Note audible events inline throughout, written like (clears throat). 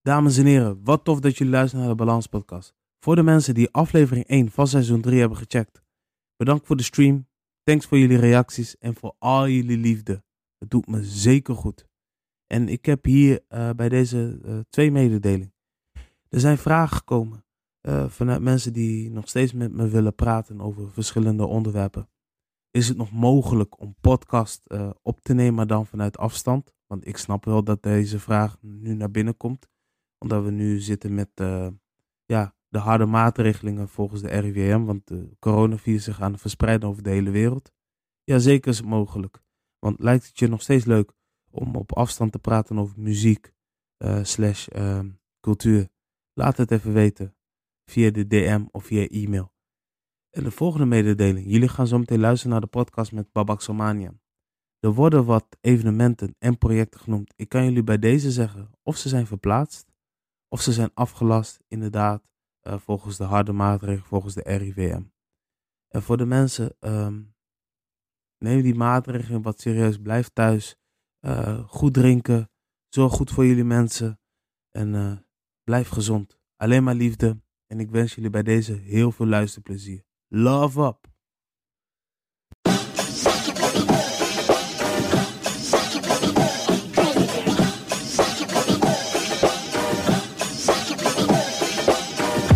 Dames en heren, wat tof dat jullie luisteren naar de Balans Podcast. Voor de mensen die aflevering 1 van seizoen 3 hebben gecheckt. Bedankt voor de stream, thanks voor jullie reacties en voor al jullie liefde. Het doet me zeker goed. En ik heb hier eh, bij deze eh, twee mededelingen. Er zijn vragen gekomen eh, vanuit mensen die nog steeds met me willen praten over verschillende onderwerpen. Is het nog mogelijk om podcast eh, op te nemen, maar dan vanuit afstand? Want ik snap wel dat deze vraag nu naar binnen komt. Omdat we nu zitten met eh, ja, de harde maatregelingen volgens de RIVM. Want de coronavirus zich aan het verspreiden over de hele wereld. Jazeker is het mogelijk. Want lijkt het je nog steeds leuk om op afstand te praten over muziek eh, slash eh, cultuur? Laat het even weten via de DM of via e-mail. En de volgende mededeling. Jullie gaan zo meteen luisteren naar de podcast met Babak Somanian. Er worden wat evenementen en projecten genoemd. Ik kan jullie bij deze zeggen of ze zijn verplaatst of ze zijn afgelast, inderdaad, eh, volgens de harde maatregelen, volgens de RIVM. En voor de mensen, ehm, neem die maatregelen wat serieus. Blijf thuis. eh, goed drinken. Zorg goed voor jullie mensen. En eh, blijf gezond. Alleen maar liefde. En ik wens jullie bij deze heel veel luisterplezier. Love up!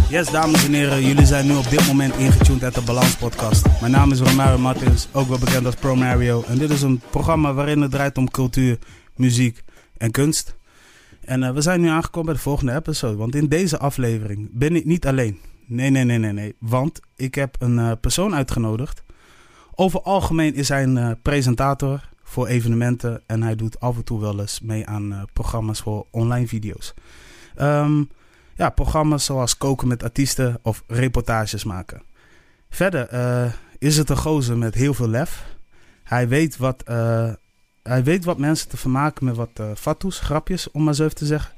Yes, dames en heren, jullie zijn nu op dit moment ingetuned uit de Balans Podcast. Mijn naam is Romario Martins, ook wel bekend als Pro Mario. En dit is een programma waarin het draait om cultuur, muziek en kunst. En eh, we zijn nu aangekomen bij de volgende episode. Want in deze aflevering ben ik niet alleen. Nee, nee, nee, nee, nee. Want ik heb een eh, persoon uitgenodigd. Over algemeen is hij een eh, presentator voor evenementen. En hij doet af en toe wel eens mee aan eh, programma's voor online video's. Ehm ja, programma's zoals koken met artiesten of reportages maken. Verder eh, is het een gozer met heel veel lef. Hij weet wat, eh, hij weet wat mensen te vermaken met wat eh fatsoes, grapjes, om maar zo even te zeggen.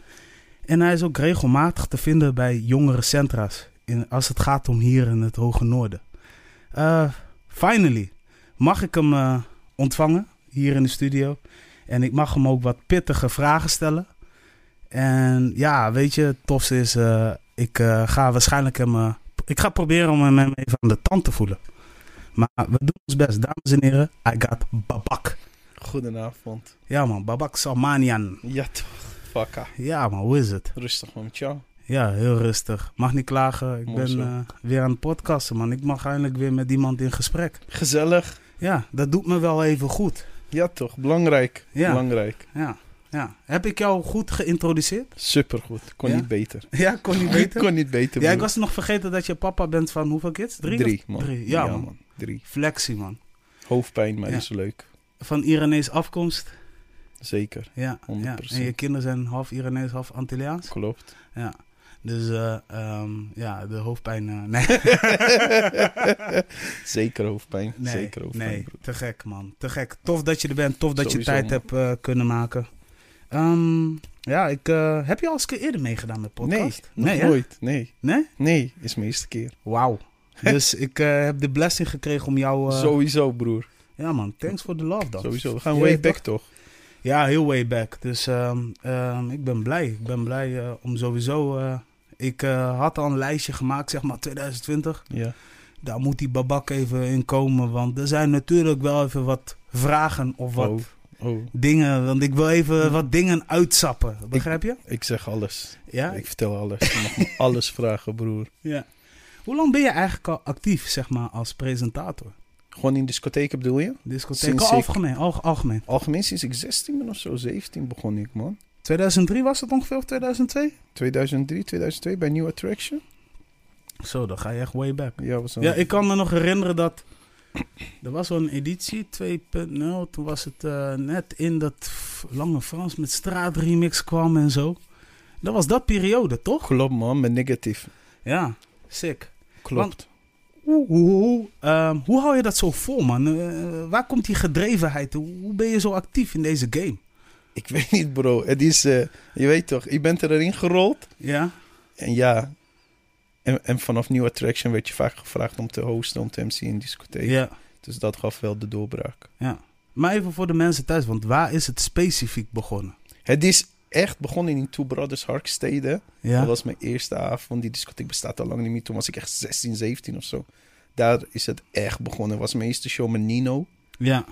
En hij is ook regelmatig te vinden bij jongere centra's. In, als het gaat om hier in het Hoge Noorden. Eh, finally, mag ik hem eh, ontvangen hier in de studio. En ik mag hem ook wat pittige vragen stellen. En ja, weet je, het tofste is, eh, ik eh, ga waarschijnlijk hem. eh, ik ga proberen om hem even aan de tand te voelen. Maar we doen ons best, dames en heren. I got Babak. Goedenavond. Ja man, Babak Salmanian. Ja toch, fakka. Ja man, hoe is het? Rustig man, met jou. Ja, heel rustig. Mag niet klagen. Ik Mooi ben zo. eh, weer aan het podcasten man. Ik mag eindelijk weer met iemand in gesprek. Gezellig. Ja, dat doet me wel even goed. Ja toch, belangrijk. Ja. Belangrijk. Ja, ja. Heb ik jou goed geïntroduceerd? (laughs) Supergoed. Kon Ja? niet beter. Ja, kon niet beter. (laughs) Kon niet beter. Ja, ik broer. was nog vergeten dat je papa bent van hoeveel kids? Drie? of- Drie, man. Drie. Ja, man. Drie. Flexie man. Hoofdpijn, maar Ja. is leuk. van Iranees afkomst. Zeker. Ja, ja. 100%. En je kinderen zijn half Iranees, half Antilliaans. (laughs) Klopt. Ja. Dus eh, ehm, ja, de hoofdpijn. eh, (laughs) nee, Zeker hoofdpijn. nee, Zeker hoofdpijn. nee, broer. te gek man. Te gek. Tof dat je er bent. Tof dat je Sowieso, tijd man. hebt eh, kunnen maken. Ehm, ja, ik, eh, heb je al eens een keer eerder meegedaan met podcast? Nee, nog hè? nooit. Nee. Nee? Nee, is mijn eerste keer. Wauw. Dus ik eh, heb de blessing gekregen om jou... eh, Sowieso, broer. Ja man, thanks for the love dan. Sowieso. We gaan Je way weet back, toch? toch? Ja, heel way back. Dus ehm, ehm, ik ben blij. Ik ben blij eh, om sowieso. eh, ik eh, had al een lijstje gemaakt, zeg maar 2020. Ja. Daar moet die babak even in komen. Want er zijn natuurlijk wel even wat vragen of wat Oh. Oh, dingen. Want ik wil even wat dingen uitsappen. Begrijp je? ik zeg alles. Ja? Ik vertel alles. Je mag (laughs) me alles vragen, broer. ja. Hoe lang ben je eigenlijk al actief, zeg maar, als presentator? Gewoon in discotheken bedoel je? Discotheek? Sinds Oh, ik- Algemeen, al- algemeen. Algemeen sinds ik 16 ben of zo, 17 begon ik, man. 2003 was het ongeveer, of 2002? 2003, 2002 bij New Attraction. Zo, dan ga je echt way back. Ja, was een- Ja, ik kan me nog herinneren dat. Er was wel een editie 2.0. Toen was het eh, net in dat F- Lange Frans met straatremix kwam en zo. Dat was dat periode, toch? Klopt, man, met negatief. Ja, sick. Klopt. Hoe, hoe, hoe, ehm, hoe hou je dat zo vol, man? Eh, waar komt die gedrevenheid? Hoe hoe ben je zo actief in deze game? Ik weet niet, bro. Het is, eh, je weet toch, je bent erin gerold. Ja, En ja, en, en vanaf New Attraction werd je vaak gevraagd om te hosten, om te MC in discotheek. ja, Dus dat gaf wel de doorbraak. ja. Maar even voor de mensen thuis, want waar is het specifiek begonnen? Het is echt begon in die Two Brothers Harkstede. Ja? Dat was mijn eerste avond. Die discotheek bestaat al lang niet meer. Toen was ik echt 16, 17 of zo. Daar is het echt begonnen. Was mijn eerste show met Nino. ja.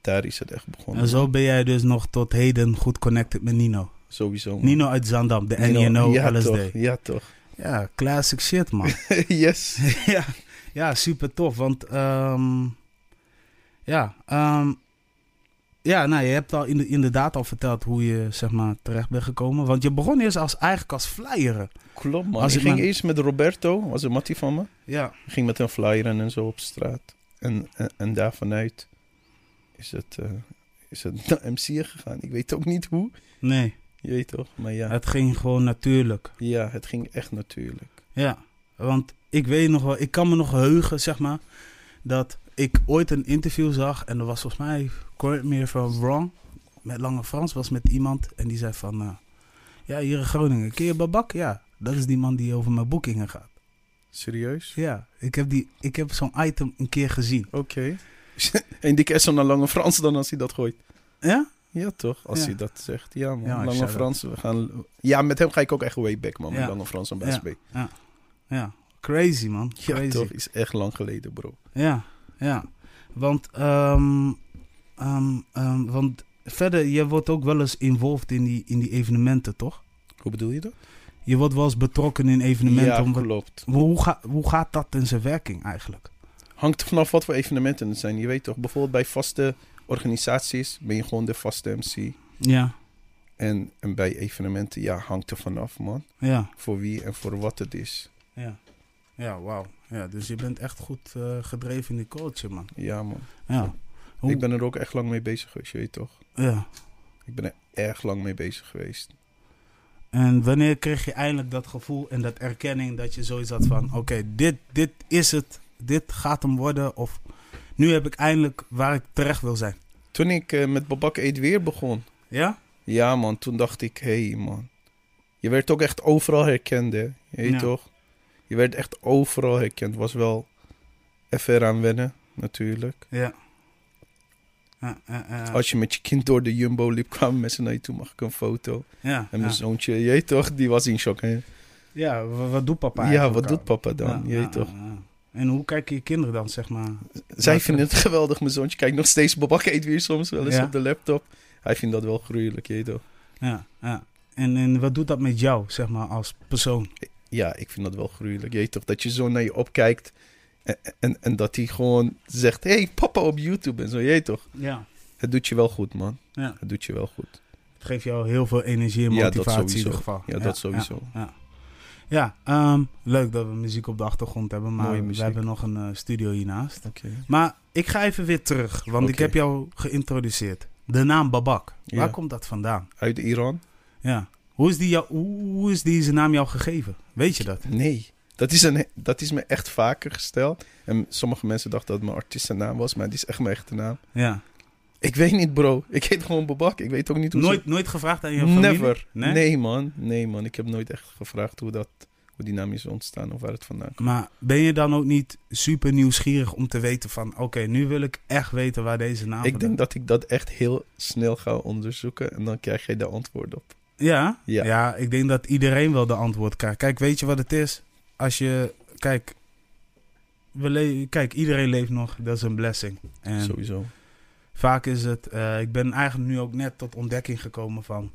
Daar is het echt begonnen. En zo ben jij dus nog tot heden goed connected met Nino. Sowieso. man. Nino uit Zandam, de Nino- NENO ja, LSD. Toch, ja, toch. (laughs) Ja, classic shit, man. yes. ja, ja, super tof. Want ehm, ja, ehm, ja nou, je hebt al inde- inderdaad al verteld hoe je zeg maar, terecht bent gekomen. Want je begon eerst als, eigenlijk als flyeren. Klopt, man. Als ik ik ging maar- eerst met Roberto, was een mattie van me. Ja, Ik ging met een flyer en zo op straat. En, en, en daar vanuit is het, eh, is het (laughs) naar MC'en gegaan. Ik weet ook niet hoe. nee, Je weet toch? Maar ja. het ging gewoon natuurlijk. Ja, het ging echt natuurlijk. Ja, want ik weet nog wel, ik kan me nog heugen, zeg maar, dat ik ooit een interview zag en er was volgens mij, correct me if I'm wrong, met Lange Frans was met iemand en die zei van, eh, ja, hier in Groningen, ken je Babak? Ja, dat is die man die over mijn boekingen gaat. Serieus? Ja, ik heb, die- ik heb zo'n item een keer gezien. Oké. (laughs) en die kerst naar Lange Frans dan als hij dat gooit. Ja? Ja, toch? Als Ja. hij dat zegt. Ja, man. Ja, maar Lange shout-out. Frans, we gaan... Ja, met hem ga ik ook echt way back, man. Met Ja. Lange Frans en Ja. Best B. Ja, crazy man, Ja, crazy. toch? Is echt lang geleden, bro. Ja, ja. Want, ehm, ehm, ehm, want verder, je wordt ook wel eens involved in die, in die evenementen, toch? Hoe bedoel je dat? Je wordt wel eens betrokken in evenementen. Ja, om- klopt. Maar hoe, ga, hoe gaat dat in zijn werking eigenlijk? Hangt er vanaf wat voor evenementen het zijn. Je weet toch, bijvoorbeeld bij vaste organisaties ben je gewoon de vaste MC. Ja, En, en bij evenementen, ja, hangt er vanaf, man. ja, Voor wie en voor wat het is. ja. Ja, wauw. Ja, dus je bent echt goed eh, gedreven in die culture, man. Ja, man. Ja. Hoe- Ik ben er ook echt lang mee bezig geweest, je weet toch? ja. Ik ben er erg lang mee bezig geweest. En wanneer kreeg je eindelijk dat gevoel en dat erkenning dat je zoiets had van... Oké, dit, dit is het. Dit gaat hem worden. Of nu heb ik eindelijk waar ik terecht wil zijn. Toen ik eh, met Babak Eet Weer begon. Ja? Ja, man. Toen dacht ik, hé, hey, man. Je werd ook echt overal herkend, hè? Je weet Ja. toch? Je werd echt overal herkend. Was wel even eraan wennen, natuurlijk. Ja. Ja, ja, ja. Als je met je kind door de jumbo liep, kwamen mensen naar je toe. Mag ik een foto? ja, En dus- ja. mijn zoontje, je weet toch, die was in shock. Hè? Ja, wa- wat doet papa Ja, eigenlijk wat doet al? papa dan? Ja, je weet ja, toch. ja, ja. En hoe kijken je kinderen dan, zeg maar? Zij Maar- vinden het (laughs) geweldig. Mijn zoontje kijkt nog steeds Babak eet weer soms wel eens Ja. op de laptop. Hij vindt dat wel gruwelijk, je weet toch. Ja, ja. En, en wat doet dat met jou, zeg maar, als persoon? Ja, ik vind dat wel gruwelijk. Je weet toch, dat je zo naar je opkijkt. En, en, en dat hij gewoon zegt, hé, hey, papa op YouTube en zo. Je weet toch. Ja. Het doet je wel goed, man. Ja. Het doet je wel goed. Het geeft jou heel veel energie en Ja, dat motivatie in sowieso. ieder geval. Ja, dat sowieso. Ja, ja. ehm, leuk dat we muziek op de achtergrond hebben, Mooie maar we muziek. hebben nog een eh, studio hiernaast. Oké. Maar ik ga even weer terug, want ik Oké. heb jou geïntroduceerd. De naam Babak, Ja. waar komt dat vandaan? Uit Iran? Ja. Hoe is, die jou, hoe hoe is deze naam jou gegeven? Weet je dat? Nee. Dat is, een, dat is me echt vaker gesteld. En sommige mensen dachten dat het mijn artiestennaam was, maar die is echt mijn echte naam. Ja. Ik weet niet, bro. Ik heet gewoon Babak. Ik weet ook niet hoe ze- Nooit, nooit gevraagd aan je familie? Never. Nee? Nee? man. Nee, man. Ik heb nooit echt gevraagd hoe, dat, hoe die naam is ontstaan of waar het vandaan komt. Maar ben je dan ook niet super nieuwsgierig om te weten van... Oké, nu wil ik echt weten waar deze naam ik vandaan- denk dat ik dat echt heel snel ga onderzoeken en dan krijg je de antwoord op. Ja? ja? Ja. ik denk dat iedereen wel de antwoord krijgt. Kijk, weet je wat het is? Als je... Kijk, we le- kijk iedereen leeft nog. Dat is een blessing. En Sowieso. vaak is het... eh, ik ben eigenlijk nu ook net tot ontdekking gekomen van...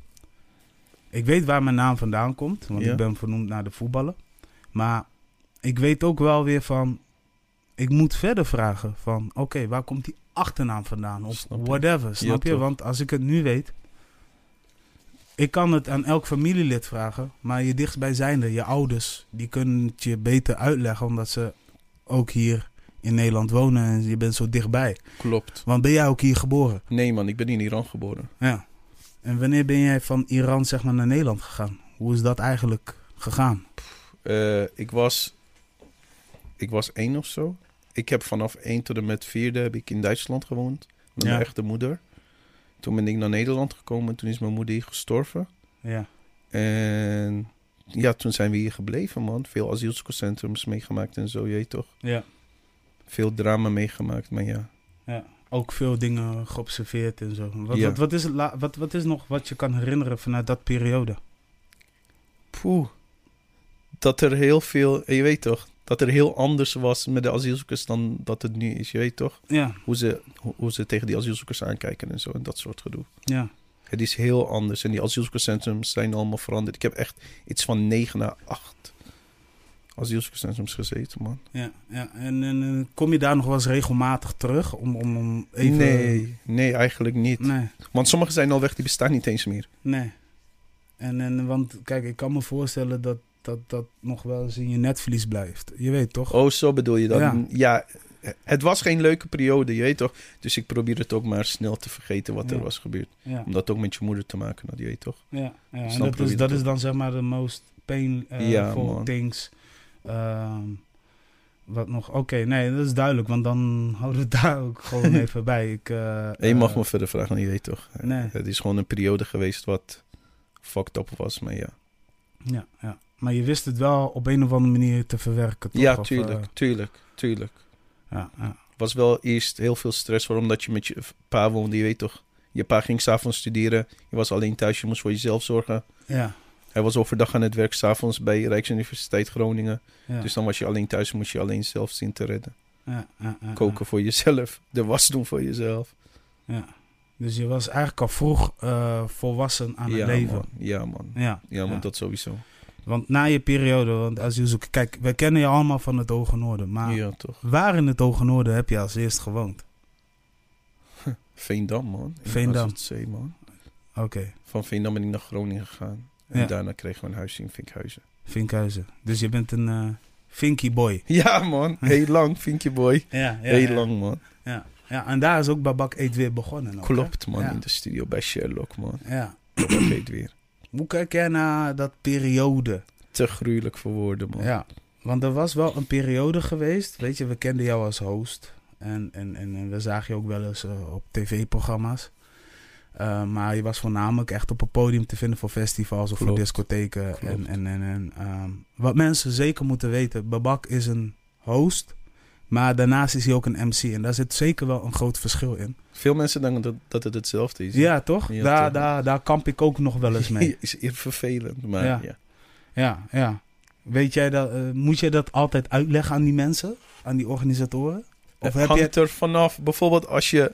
Ik weet waar mijn naam vandaan komt. Want Ja. ik ben vernoemd naar de voetballen. Maar ik weet ook wel weer van... Ik moet verder vragen van... Oké, waar komt die achternaam vandaan? Of Snap ik. whatever, snap je? toch. Want als ik het nu weet... Ik kan het aan elk familielid vragen. Maar je dichtstbijzijnde, je ouders... Die kunnen het je beter uitleggen. Omdat ze ook hier in Nederland wonen. En je bent zo dichtbij. Klopt. Want ben jij ook hier geboren? Nee, man. Ik ben in Iran geboren. Ja. En wanneer ben jij van Iran zeg maar, naar Nederland gegaan? Hoe is dat eigenlijk gegaan? Eh, ik was... Ik was één of zo. Ik heb vanaf één tot en met vierde heb ik in Duitsland gewoond. Met Ja. mijn echte moeder. Toen ben ik naar Nederland gekomen. Toen is mijn moeder hier gestorven. Ja. En ja, toen zijn we hier gebleven, man. Veel asielzoekerscentrums meegemaakt en zo, je weet toch. Ja. Veel drama meegemaakt, maar ja. Ja. ook veel dingen geobserveerd en zo. Wat, Ja. wat, wat, is, het la- wat, wat is nog wat je kan herinneren vanuit dat periode? Poeh. Dat er heel veel, je weet toch, dat er heel anders was met de asielzoekers dan dat het nu is. Je weet toch, Ja, hoe ze, hoe- hoe ze tegen die asielzoekers aankijken en zo en dat soort gedoe. ja. Het is heel anders en die asielzoekerscentrums zijn allemaal veranderd. Ik heb echt iets van 9 naar 8 asielzoekerscentrums gezeten, man. Ja, ja. En, en, en kom je daar nog wel eens regelmatig terug om, om, om even... Nee, nee, eigenlijk niet. Nee, Want sommige zijn al weg, die bestaan niet eens meer. nee. En, en want kijk, ik kan me voorstellen dat dat, dat nog wel eens in je netvlies blijft. Je weet toch? Oh, zo bedoel je dat? Ja. Ja. het was geen leuke periode, je weet toch? Dus ik probeer het ook maar snel te vergeten wat Ja. er was gebeurd. Ja, Omdat ook met je moeder te maken had, je weet toch? ja, ja. En Snap dat hoe is, je dat dat is dan zeg maar de most painful Ja, man. things. Ehm, wat nog? Oké, nee, dat is duidelijk. Want dan houden we het (laughs) daar ook (laughs) gewoon even bij. Ik, eh, En je mag eh, me verder vragen, je weet toch? Nee. Het is gewoon een periode geweest wat fucked up was, maar ja. Ja, ja. Maar je wist het wel op een of andere manier te verwerken, toch? ja, Of, tuurlijk, eh, tuurlijk, tuurlijk. ja, ja. was wel eerst heel veel stress voor, omdat je met je pa woonde, je weet toch? Je pa ging s'avonds studeren, je was alleen thuis, je moest voor jezelf zorgen. ja, Hij was overdag aan het werk, s'avonds bij Rijksuniversiteit Groningen. ja. Dus dan was je alleen thuis, moest je alleen zelf zien te redden. Ja, ja, ja, Koken voor jezelf, de was doen voor jezelf. Ja. Ja. Dus je was eigenlijk al vroeg eh, volwassen aan ja, het leven. Man. Ja, man. Ja, Ja, man, Ja. dat sowieso. want na je periode, want als je zoekt, kijk, we kennen je allemaal van het Hoge Noorden, maar Ja, toch. waar in het Hoge Noorden heb je als eerst gewoond? Veendam, man. In Veendam. Zee, man. Oké, Van Veendam ben ik naar Groningen gegaan. En Ja. daarna kregen we een huis in Vinkhuizen. (laughs) Vinkhuizen. Dus je bent een eh Vinky boy. Ja, man. Heel lang, Vinkje boy. Ja, ja, Heel ja. lang, man. Ja. ja, en daar is ook Babak Eet weer begonnen. ook, hè? Klopt, man. Ja. In de studio bij Sherlock, man. (clears throat) Ja. Ik weet weer. Hoe kijk jij naar dat periode? Te gruwelijk voor woorden, man. Ja, want er was wel een periode geweest. Weet je, we kenden jou als host. En, en, en, en we zagen je ook wel eens eh, op tv-programma's. Eh, maar je was voornamelijk echt op een podium te vinden voor festivals of voor Klopt. discotheken. En, Klopt. en, en, en ehm, wat mensen zeker moeten weten: Babak is een host. Maar daarnaast is hij ook een MC. En daar zit zeker wel een groot verschil in. Veel mensen denken dat, dat het hetzelfde is. (laughs) Ja, toch? Ja, daar, toch. daar, daar kamp ik ook nog wel eens (laughs) mee. is eer vervelend, maar Ja. ja. Ja, ja. Weet jij dat, eh, moet jij dat altijd uitleggen aan die mensen? Aan die organisatoren? Of Of heb hangt je... het er vanaf. Bijvoorbeeld als je,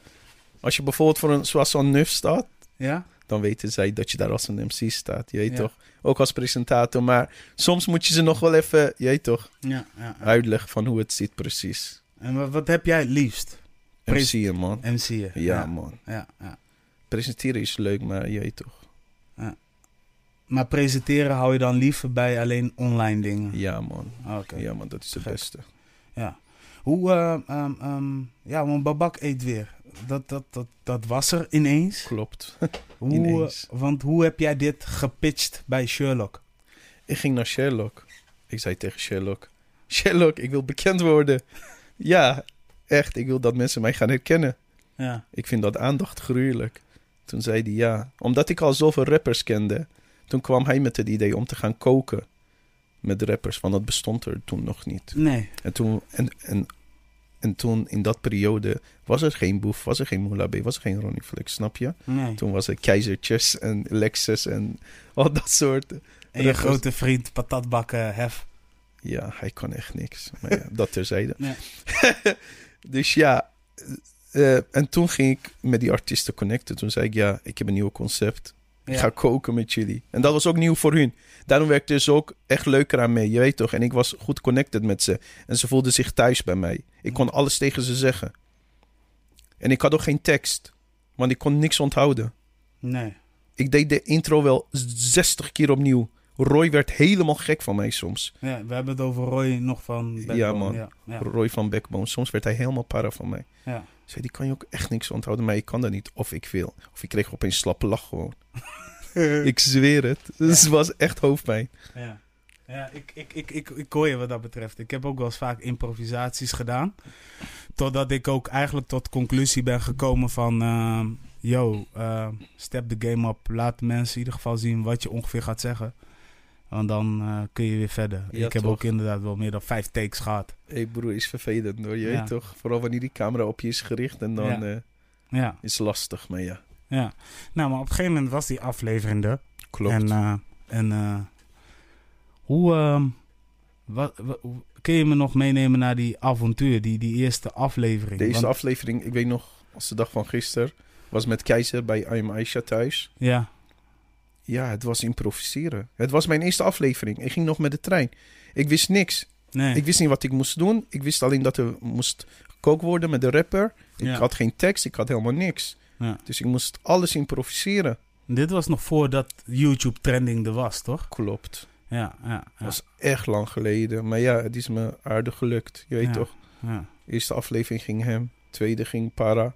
als je bijvoorbeeld voor een Soissons Neuf staat, Ja? dan weten zij dat je daar als een MC staat. Je weet Ja. toch? Ook als presentator. Maar soms moet je ze nog wel even, je weet toch, Ja, ja. uitleggen van hoe het zit precies. Eh, En wa- wat heb jij het liefst? Pres- MC'en, man. MC'en. Ja, man. ja, ja. Presenteren is leuk, maar je weet toch. Maar presenteren hou je dan liever bij alleen online dingen? Ah, Ja, man. Oké. Ja. Ja, man, dat is het Gek. beste. Hoe, eh, ehm, ehm, ja, want Babak eet weer. Dat, dat, dat, dat was er ineens. Klopt. (laughs) Hoe, Ineens. eh, want hoe heb jij dit gepitcht bij Sherlock? Ik ging naar Sherlock. Ik zei tegen Sherlock: Sherlock, ik wil bekend worden. Ja, echt. Ik wil dat mensen mij gaan herkennen. Ja, Ik vind dat aandacht gruwelijk. Toen zei hij ja. Omdat ik al zoveel rappers kende, toen kwam hij met het idee om te gaan koken met rappers. Want dat bestond er toen nog niet. nee. En toen, en, en, en toen in dat periode was er geen Boef, was er geen Moula B, was er geen Ronnie Flex, snap je? nee. Toen was er Keizertjes en Lexus en al dat soort. En je dat was- grote vriend patatbakken hef. Ja, hij kon echt niks. Maar ja, dat terzijde. Nee. (laughs) dus ja. eh, en toen ging ik met die artiesten connecten. Toen zei ik, ja, ik heb een nieuw concept. Ik Ja. ga koken met jullie. En dat was ook nieuw voor hun. Daarom werkte ze ook echt leuker aan mee. Je weet toch? En ik was goed connected met ze. En ze voelden zich thuis bij mij. Ik kon alles tegen ze zeggen. En ik had ook geen tekst. Want ik kon niks onthouden. Nee. Ik deed de intro wel 60 keer opnieuw. Roy werd helemaal gek van mij soms. Ja, we hebben het over Roy nog van. Ja, man. Ja, ja, Roy van Backbone. Soms werd hij helemaal para van mij. ja. Zei, die kan je ook echt niks onthouden, maar ik kan dat niet. Of ik wil. Of ik kreeg opeens slappe lach gewoon. (laughs) ik zweer het. (laughs) Dus het was echt hoofdpijn. ja. Ja, ik, ik, ik, ik, ik hoor je wat dat betreft. Ik heb ook wel eens vaak improvisaties gedaan. Totdat ik ook eigenlijk tot conclusie ben gekomen van... ehm, yo, ehm, step the game up. Laat mensen in ieder geval zien wat je ongeveer gaat zeggen. Want dan eh, kun je weer verder. Ja, ik heb toch. ook inderdaad wel meer dan vijf takes gehad. hey broer, is vervelend hoor. Je Ja. weet toch? Vooral wanneer die camera op je is gericht en dan Ja. eh, Ja, is het lastig. Maar ja, ja. Nou, maar op een gegeven moment was die aflevering er. klopt. En, eh, en eh, hoe. ehm, wa- wa- hoe- kun je me nog meenemen naar die avontuur, die, die eerste aflevering? De eerste Want- aflevering, ik weet nog, als de dag van gisteren, was met Keizer bij I'm Aisha thuis. Ja, Ja, het was improviseren. Het was mijn eerste aflevering. Ik ging nog met de trein. Ik wist niks. nee. Ik wist niet wat ik moest doen. Ik wist alleen dat er moest gekookt worden met de rapper. Ik Ja. had geen tekst, ik had helemaal niks. Ja. Dus ik moest alles improviseren. Dit was nog voordat YouTube trending er was, toch? Klopt. Ja, ja. ja, Dat was echt lang geleden. Maar ja, het is me aardig gelukt. Je weet Ja. toch? ja. Eerste aflevering ging hem. Tweede ging Para.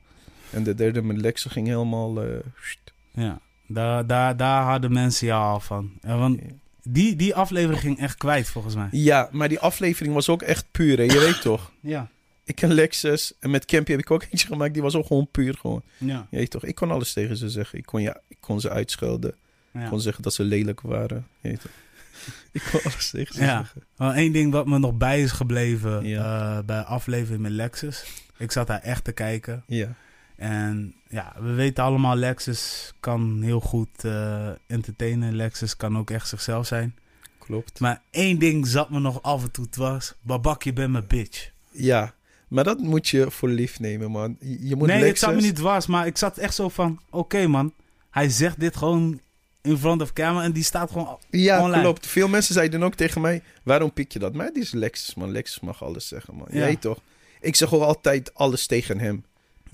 En de derde met Lex ging helemaal... eh, sst. Ja, daar, daar, daar hadden mensen jou al van. Ja, want die, die aflevering ging echt kwijt, volgens mij. Ja, maar die aflevering was ook echt puur. Hè? Je weet toch? Ja. Ik en Lexus. En met Campy heb ik ook eentje gemaakt. Die was ook gewoon puur. Gewoon. Ja. Je weet toch? Ik kon alles tegen ze zeggen. Ik kon, ja, ik kon ze uitschelden. Ik ja. kon zeggen dat ze lelijk waren. Je weet toch? (laughs) ik kon alles tegen ze Ja. zeggen. Wel, één ding wat me nog bij is gebleven Ja. eh, bij aflevering met Lexus. Ik zat daar echt te kijken. Ja. En ja, we weten allemaal, Lexus kan heel goed eh, entertainen. Lexus kan ook echt zichzelf zijn. Klopt. Maar één ding zat me nog af en toe dwars. Babak, je bent mijn bitch. Ja. Maar dat moet je voor lief nemen, man. Je, je moet nee, het Lexus... zat me niet dwars, maar ik zat echt zo van... Oké man, hij zegt dit gewoon in front of camera en die staat gewoon Ja, Online. klopt. Veel mensen zeiden ook tegen mij: waarom pik je dat? Maar die is Lexus, man. Lexus mag alles zeggen, man. Je Ja. weet toch? Ik zeg ook altijd alles tegen hem.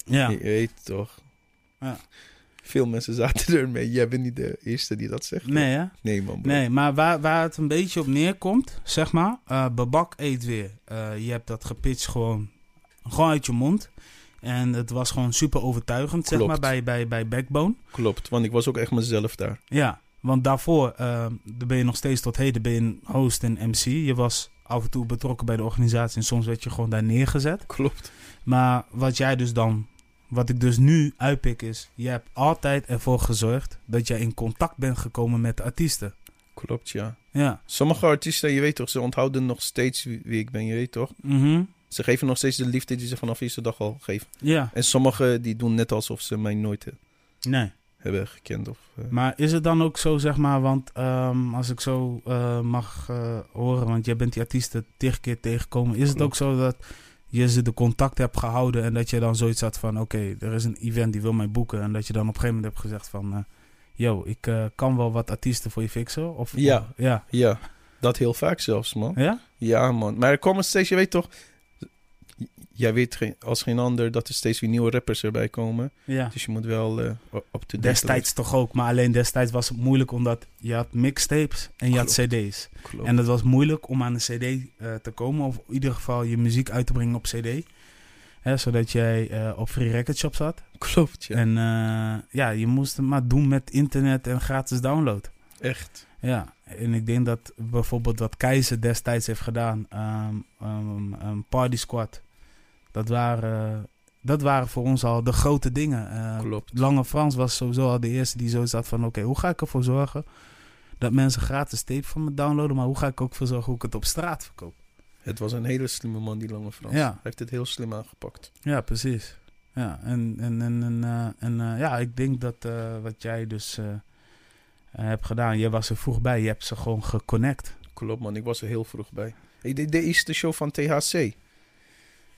Ja, Je weet toch? Ja. Veel mensen zaten (laughs) ermee. Jij bent niet de eerste die dat zegt. nee hè? Nee, man. Bro. Nee, maar waar, waar het een beetje op neerkomt, zeg maar. eh, Babak eet weer. Eh, je hebt dat gepitcht gewoon, gewoon uit je mond. En het was gewoon super overtuigend, zeg Klopt. maar, bij, bij, bij Backbone. Klopt, want ik was ook echt mezelf daar. Ja, want daarvoor eh, daar ben je nog steeds tot heden ben je een host en MC. Je was af en toe betrokken bij de organisatie en soms werd je gewoon daar neergezet. Klopt. Maar wat jij dus dan, wat ik dus nu uitpik is, je hebt altijd ervoor gezorgd dat jij in contact bent gekomen met de artiesten. Klopt, ja. Ja. Sommige artiesten, je weet toch, ze onthouden nog steeds wie wie ik ben, je weet toch? Mhm. Ze geven nog steeds de liefde die ze vanaf eerste dag al geven. Ja, En sommigen die doen net alsof ze mij nooit he- nee. hebben gekend. Of, eh, Maar is het dan ook zo, zeg maar, want ehm, als ik zo eh, mag eh, horen, want jij bent die artiesten tig keer tegengekomen. Is het Klopt. ook zo dat je ze de contact hebt gehouden en dat je dan zoiets had van, oké, er is een event die wil mij boeken. En dat je dan op een gegeven moment hebt gezegd van, eh, yo, ik eh, kan wel wat artiesten voor je fixen. Of, Ja. ja. Ja, dat heel vaak zelfs, man. Ja? Ja, man. Maar er komen steeds, je weet toch... j- Jij weet geen- als geen ander dat er steeds weer nieuwe rappers erbij komen. Ja. Dus je moet wel eh, op de Destijds toch ook, maar alleen destijds was het moeilijk omdat je had mixtapes en je had Klopt. cd's. Klopt. En het was moeilijk om aan een CD eh, te komen, of in ieder geval je muziek uit te brengen op CD. Hè, zodat jij eh, op Free Record Shop zat. Klopt, ja. En eh, ja, je moest het maar doen met internet en gratis download. Echt. Ja, en ik denk dat bijvoorbeeld wat Keizer destijds heeft gedaan, ehm, ehm, ehm, Party Squad, dat waren, dat waren voor ons al de grote dingen. Eh, Klopt. Lange Frans was sowieso al de eerste die zo zat van... oké, hoe ga ik ervoor zorgen dat mensen gratis tape van me downloaden... maar hoe ga ik ook voor zorgen hoe ik het op straat verkoop? Het was een hele slimme man, die Lange Frans. Ja. Hij heeft het heel slim aangepakt. Ja, precies. Ja, en, en, en, en, eh, en eh, ja, ik denk dat eh, wat jij dus eh, eh, hebt gedaan... jij was er vroeg bij, je hebt ze gewoon geconnect. Klopt, man. Ik was er heel vroeg bij. Ik deed de eerste show van THC.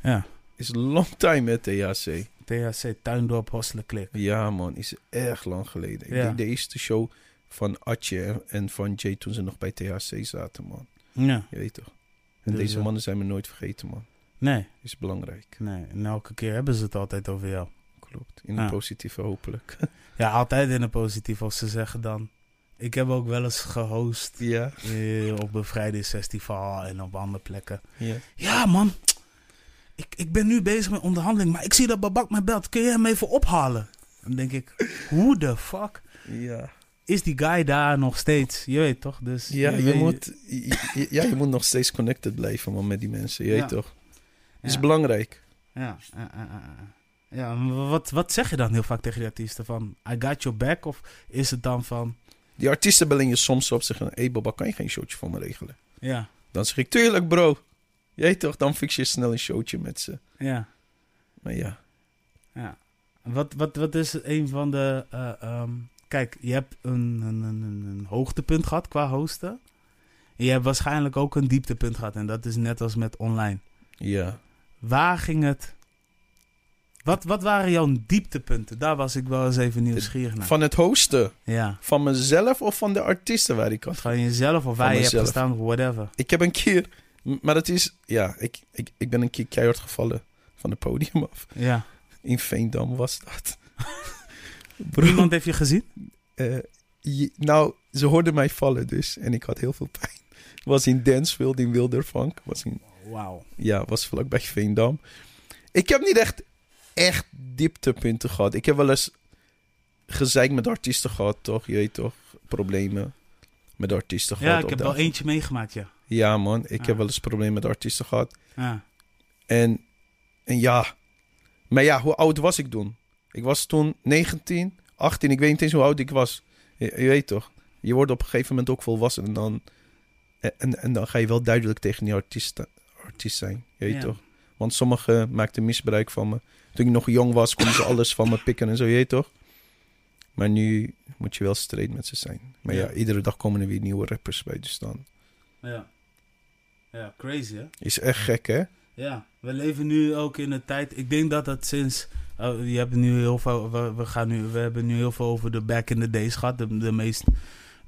Ja, Is long time, hè, THC. THC, Tuindorp, Hostelenklik. Ja, man. Is erg lang geleden. Ik Ja. deed de eerste show van Atje en- en van Jay toen ze nog bij THC zaten, man. Ja, Je weet toch. En Dus, deze eh, mannen zijn me nooit vergeten, man. nee, Is belangrijk. nee. En elke keer hebben ze het altijd over jou. Klopt. In Ja. het positieve hopelijk. (laughs) Ja, altijd in het positief als ze zeggen dan... Ik heb ook wel eens gehost... Ja. Eh, op bevrijdingsfestival en op andere plekken. ja. Ja, man. Ik, ik ben nu bezig met onderhandeling, maar ik zie dat Babak mij belt. Kun je hem even ophalen? Dan denk ik, hoe de fuck Ja. is die guy daar nog steeds? Je weet toch? Dus Ja, je weet- moet, je- je- ja, je moet nog steeds connected blijven, man, met die mensen. Je Ja. weet toch? Is Ja. belangrijk. Ja, eh, eh, eh, eh. ja maar wat, wat zeg je dan heel vaak tegen die artiesten? Van, I got your back? Of is het dan van, Die artiesten bellen je soms op zeggen: Hé hey Baba, kan je geen showtje voor me regelen? Ja, Dan zeg ik: Tuurlijk, bro. Jij toch, dan fix je snel een showtje met ze. ja, Maar ja, ja. Wat, wat, wat is een van de... eh, ehm, kijk, je hebt een, een, een, een- een hoogtepunt gehad qua hosten. En je hebt waarschijnlijk ook een dieptepunt gehad. En dat is net als met online. ja. Waar ging het... Wat, wat waren jouw dieptepunten? Daar was ik wel eens even nieuwsgierig naar. Van het hosten, Ja. van mezelf of van de artiesten waar ik had. Van jezelf of Van waar je hebt mezelf. gestaan of whatever. Ik heb een keer, m- maar dat is, ja, ik, ik, ik ben een keer keihard gevallen van het podium af. (laughs) Ja. In Veendam was dat. (laughs) Bro, Niemand heeft je gezien? eh, je- nou, ze hoorden mij vallen dus en ik had heel veel pijn. Was in Dansfield in Wildervank, was in Wauw. ja, was vlakbij Veendam. Ik heb niet echt, echt dieptepunten gehad. Ik heb wel eens gezeik met artiesten gehad, toch? Je weet toch, problemen met artiesten Ja, gehad. ik op heb de wel avond. eentje meegemaakt, ja. Ja, man, ik Ah. heb wel eens problemen met artiesten gehad. Ja. En, en ja, maar ja, hoe oud was ik toen? Ik was toen 19, 18, ik weet niet eens hoe oud ik was. Je, je weet toch, je wordt op een gegeven moment ook volwassen en dan, en- en, en dan ga je wel duidelijk tegen die artiest, artiest zijn. Je weet Ja. toch? Want sommigen maakten misbruik van me. Toen ik nog jong was, konden ze alles van me pikken en zo, je weet toch? Maar nu moet je wel straight met ze zijn. Maar ja, Ja. iedere dag komen er weer nieuwe rappers bij, dus dan... Ja. Ja, crazy hè? Is echt gek, hè? Ja, we leven nu ook in een tijd. Ik denk dat dat sinds. eh, je hebt nu heel veel, we, we, gaan nu, we hebben nu heel veel over de back in the days gehad. De, de meest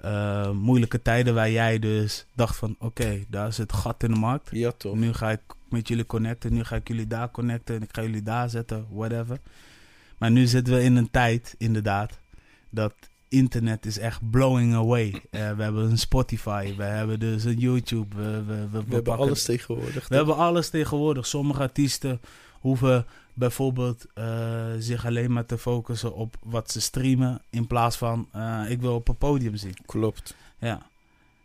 eh, moeilijke tijden waar jij dus dacht van oké, daar zit gat in de markt. Ja, toch? Nu ga ik met jullie connecten, nu ga ik jullie daar connecten en ik ga jullie daar zetten, whatever. Maar nu zitten we in een tijd, inderdaad, dat internet is echt blowing away. Eh, we hebben een Spotify, we hebben dus een YouTube. We, we, we, We hebben pakken- alles tegenwoordig. we hebben alles tegenwoordig. Sommige artiesten hoeven bijvoorbeeld eh, zich alleen maar te focussen op wat ze streamen. In plaats van eh, ik wil op een podium zien. Klopt. Ja.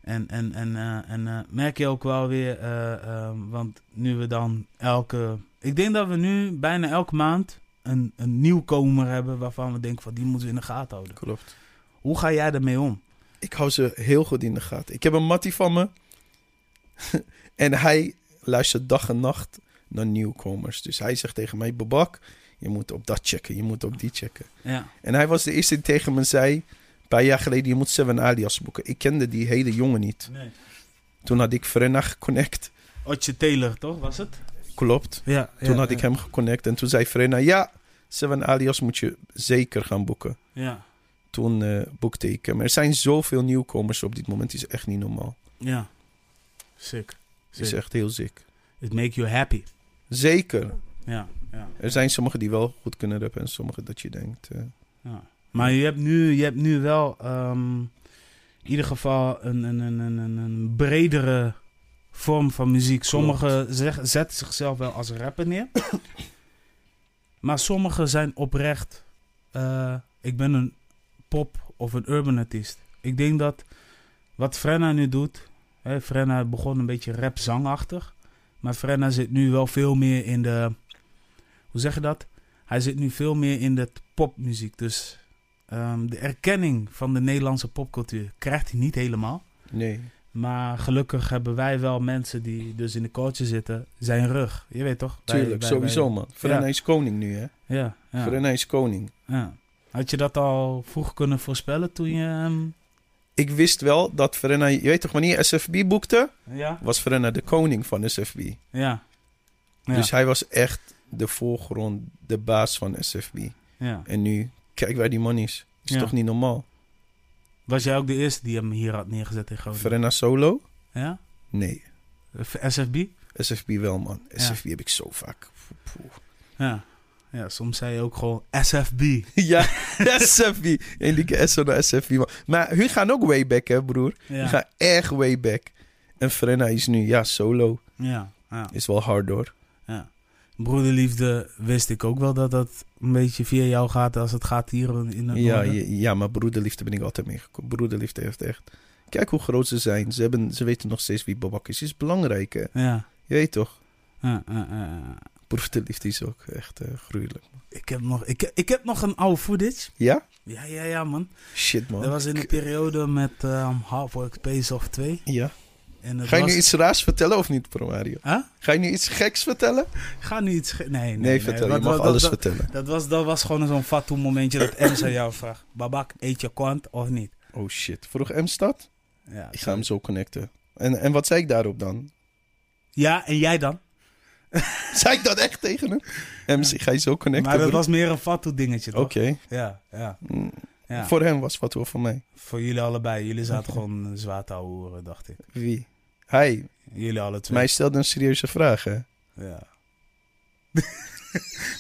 En, en, en, eh, en eh, merk je ook wel weer, eh, ehm, want nu we dan elke. Ik denk dat we nu bijna elke maand een, een nieuwkomer hebben waarvan we denken van die moeten we in de gaten houden. Klopt. Hoe ga jij ermee om? Ik hou ze heel goed in de gaten. Ik heb een mattie van me. (laughs) en hij luistert dag en nacht naar nieuwkomers. Dus hij zegt tegen mij, Babak, je moet op dat checken, je moet op die checken. Ja, En hij was de eerste die tegen me zei, een paar jaar geleden, je moet Seven Alias boeken. Ik kende die hele jongen niet. nee. Toen had ik Frenna geconnect. Otje Taylor, toch? Was het? Klopt. Ja. Toen had ik hem geconnect. En toen zei Frenna, ja, Seven Alias moet je zeker gaan boeken. Ja. toen eh, boekte ik hem. Er zijn zoveel nieuwkomers op dit moment. Het is echt niet normaal. Ja. Sick. Het is Zeker. echt heel ziek. It make you happy. Zeker. Ja, ja, Er zijn sommigen die wel goed kunnen rappen en sommigen dat je denkt. eh, ja. Maar je hebt nu, je hebt nu wel ehm, in ieder geval een, een, een, een, een- een bredere vorm van muziek. Sommigen zeg- zetten zichzelf wel als rapper neer. maar sommigen zijn oprecht. eh, ik ben een pop of een urban artiest. Ik denk dat wat Frenna nu doet. Hè, Frenna begon een beetje rap-zangachtig. Maar Frenna zit nu wel veel meer in de. Hoe zeg je dat? Hij zit nu veel meer in de popmuziek. Dus ehm, de erkenning van de Nederlandse popcultuur krijgt hij niet helemaal. nee. Maar gelukkig hebben wij wel mensen die dus in de coachen zitten, zijn rug. Je weet toch? Wij- Tuurlijk, wij- sowieso man. Frenna Ja. is koning nu hè. wij- ja, ja, Frenna is koning. ja. Had je dat al vroeg kunnen voorspellen toen je hem... Ik wist wel dat Frenna... Je weet toch, wanneer je SFB boekte, Ja? was Frenna de koning van SFB. Ja. Ja. Dus hij was echt de voorgrond, de baas van SFB. ja. En nu, kijk waar die man is. Is Ja. Oh, toch niet normaal? Was jij ook de eerste die hem hier had neergezet in Groningen? Frenna solo? Ja? Nee. SFB? SFB wel man. SFB heb ik zo vaak. (laughs) Ja. Ja, soms zei je ook gewoon SFB. Ja, (laughs) SFV. Enrique SO naar SFV. man. Maar hun gaan ook way back, hè, broer. Hun Ja. gaan echt way back. En Frenna is nu, ja, solo. Ja. ja, Is wel hard, hoor. ja. Broederliefde wist ik ook wel dat dat een beetje via jou gaat als het gaat hier in het Ja, noorden. ja, ja, maar broederliefde ben ik altijd meegekomen. Broederliefde heeft echt... Kijk hoe groot ze zijn. Ze, hebben, ze weten nog steeds wie Babak is. is belangrijk, hè. Ja. Je weet toch? Ja, ja, ja, ja. Broederliefde is ook echt eh gruwelijk. Ik heb nog, ik, ik heb nog een oude footage. Ja? Ja, ja, ja, man. Oh, Shit, man. Dat was in de periode met ehm Halfwork Space of 2. Ja. En het Ga je was... nu iets raars vertellen of niet, Pro Mario? Huh? Ga je nu iets geks vertellen? Ga nu iets... ge- Nee, nee, Nee, vertel. Dat- je mag dat- alles dat- vertellen. Dat was, dat was gewoon zo'n fatou momentje dat Ems aan jou vraagt. (laughs) Babak, eet je kwant of niet? Oh shit. Vroeg M staat? Ja, Ik ga hem zo connecten. En, en wat zei ik daarop dan? (laughs) ja en jij dan? Zei ik dat echt tegen hem? Ems, ik ga je zo connecten. maar dat broer. was meer een fatou dingetje, toch? Oké. Ja, ja, Mm, ja. Voor... Voor hem was wat wel voor mij. jullie allebei. Jullie zaten gewoon (laughs) zwaar te horen, dacht ik. Wie? Hij. Jullie alle twee. Mij stelde een serieuze vraag, hè? Ja. (laughs)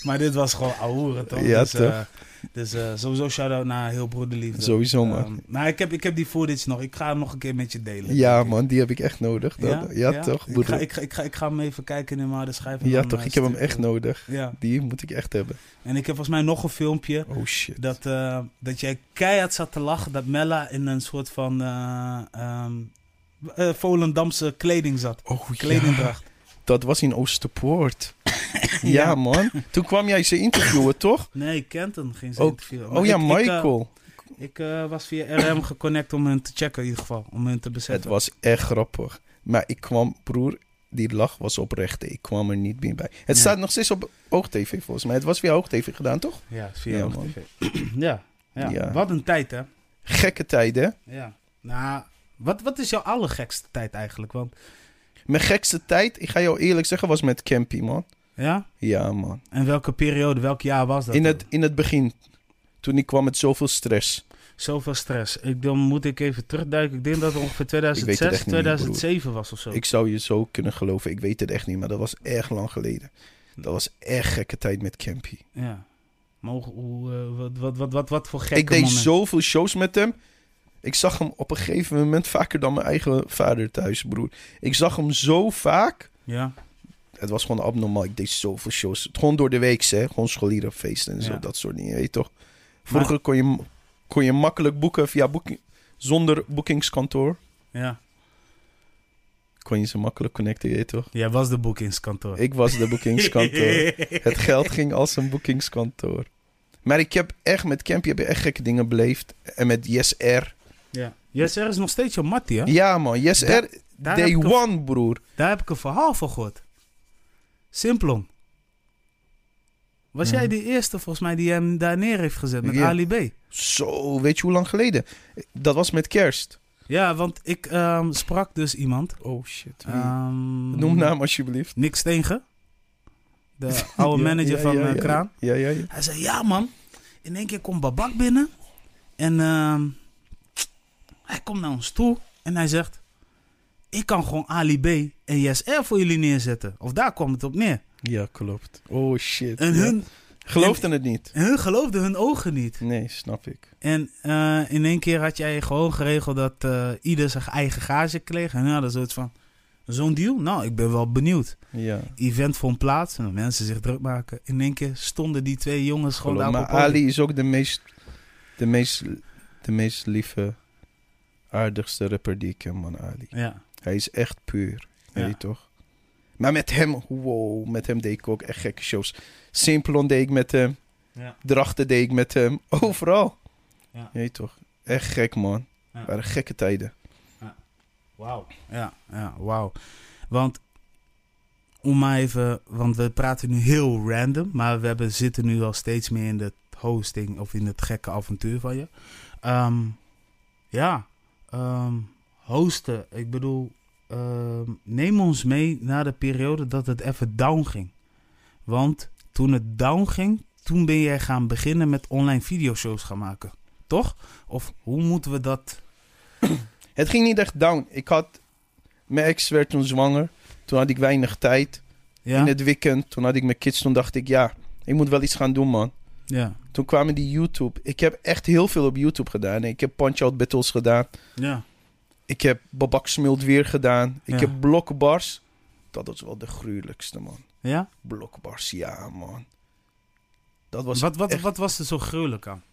maar dit was gewoon ouwe, toch? Ja, dus, eh, toch? dus eh, sowieso shout-out naar Heel Broederliefde. Sowieso, man. Ehm, nou, ik heb, ik heb die footage nog. Ik ga hem nog een keer met je delen. Ja, denk ik. man, die heb ik echt nodig. Dat, ja? toch? Ik broeder? ga, ik, ga, ik, ga, ik ga hem even kijken in maar de schrijf. en ja, dan, toch? eh, Ik heb hem stuur echt het. nodig. Ja, Die moet ik echt hebben. en ik heb volgens mij nog een filmpje Oh shit. dat, eh, dat jij keihard zat te lachen dat Mella in een soort van eh, ehm, eh, Volendamse kleding zat. Oh ja. Kledingdracht. Dat was in (laughs) Oosterpoort. ja, Ja. man. Toen kwam jij ze interviewen, toch? Nee, Kenton ging ze Oh, interviewen. Maar oh ja, ik- ik, eh, Michael. Ik eh, was via RM geconnect om hun te checken in ieder geval. Om hun te het beseffen. was echt grappig. Maar ik kwam, broer, die lach was oprecht. Ik kwam er niet meer bij. Het Nee. staat nog steeds op OogTV volgens mij. Het was via OogTV gedaan, toch? Ja, via Ja, ja, man. TV. (clears throat) ja, ja. Ja. wat een tijd hè. Gekke tijden, hè? Ja. Nou, wat, wat is jouw allergekste tijd eigenlijk? Want, Mijn gekste tijd, ik ga jou eerlijk zeggen, was met Campy, man. ja? Ja, man. En welke periode, welk jaar was dat? In dan? het, in het begin, toen ik kwam met zoveel stress. Zoveel stress. Ik, dan moet ik even terugduiken. Ik denk dat het ongeveer Ik weet het 2006, echt niet meer, 2007 was of zo. Ik zou je zo kunnen geloven. Ik weet het echt niet, maar dat was echt lang geleden. Dat was echt gekke tijd met Campy. Ja. Maar hoe- hoe, eh, wat, wat, wat, wat, wat voor gekke ik deed moment. zoveel shows met hem. Ik zag hem op een gegeven moment vaker dan mijn eigen vader thuis, broer. Ik zag hem zo vaak. Ja, Het was gewoon abnormaal. Ik deed zoveel shows. Gewoon door de week, hè. Gewoon scholierenfeesten en zo, Ja. dat soort dingen. Je weet toch? Vroeger kon, je, kon je makkelijk boeken via boeking... Zonder boekingskantoor ja. kon je ze makkelijk connecten, je weet toch? Jij was de boekingskantoor. Ik was de (laughs) boekingskantoor. Het geld ging als een boekingskantoor. Maar ik heb echt met Campy heb ik echt gekke dingen beleefd. En met Yes Air. ja. Yes, er is nog steeds jouw mattie, hè? Ja, man. Yes Da- Air, daar day heb ik een- one, broer. Daar heb ik een verhaal van gehoord. Simplon. Was jij die eerste volgens mij die hem daar neer heeft gezet met Ja. Ali B? Zo, weet je hoe lang geleden? Dat was met kerst. Ja, want ik ehm, sprak dus iemand. Oh, shit. Ehm, Noem naam alsjeblieft. Nick Steengen. (laughs) De oude Ja, manager ja, van ja, eh, ja. Kraan. Ja, ja, ja. Hij zei, ja man, in één keer komt Babak binnen. En ehm, hij komt naar ons toe en hij zegt... Ik kan gewoon Ali B en JSR voor jullie neerzetten. Of daar kwam het op neer. Ja, klopt. Oh, shit. En Ja. hun, Geloofden het niet. En hun geloofden hun ogen niet. Nee, snap ik. En eh, in één keer had jij gewoon geregeld dat eh, ieder zijn eigen gage kreeg. En ja, dat is zoiets van, zo'n deal? Nou, ik ben wel benieuwd. Ja. Event vond plaats en mensen zich druk maken. In één keer stonden die twee jongens gewoon Geloof- daar Maar op het podium. Ali is ook de meest, de meest, de meest lieve, aardigste rapper die ik ken, man, Ali. Ja, Hij is echt puur. Ja. Weet je toch? Maar met hem, wow, met hem deed ik ook echt gekke shows. Simplon deed ik met hem. Ja. Drachten deed ik met hem. (laughs) Overal. Ja. Je weet toch? Echt gek, man. Ja. waren gekke tijden. wauw. Ja, ja, wauw. Want, om maar even, want we praten nu heel random. Maar we hebben, zitten nu al steeds meer in het hosting of in het gekke avontuur van je. Ehm, ja, ehm, hosten. Ik bedoel, ehm, neem ons mee naar de periode dat het even down ging. Want toen het down ging, toen ben jij gaan beginnen met online videoshows gaan maken. Toch? Of hoe moeten we dat... Het ging niet echt down. Ik had... Mijn ex werd toen zwanger. Toen had ik weinig tijd. Ja, In het weekend, toen had ik mijn kids. Toen dacht ik, ja, ik moet wel iets gaan doen, man. ja, Toen kwamen die YouTube. Ik heb echt heel veel op YouTube gedaan. Ik heb Punch-Out Battles gedaan. ja. Ik heb Babak Smult weer gedaan. Ik Ja. heb Blokbars. Dat was wel de gruwelijkste, man. Ja? Blokbars, ja, man. Dat was wat, wat, echt- wat was er zo gruwelijk aan?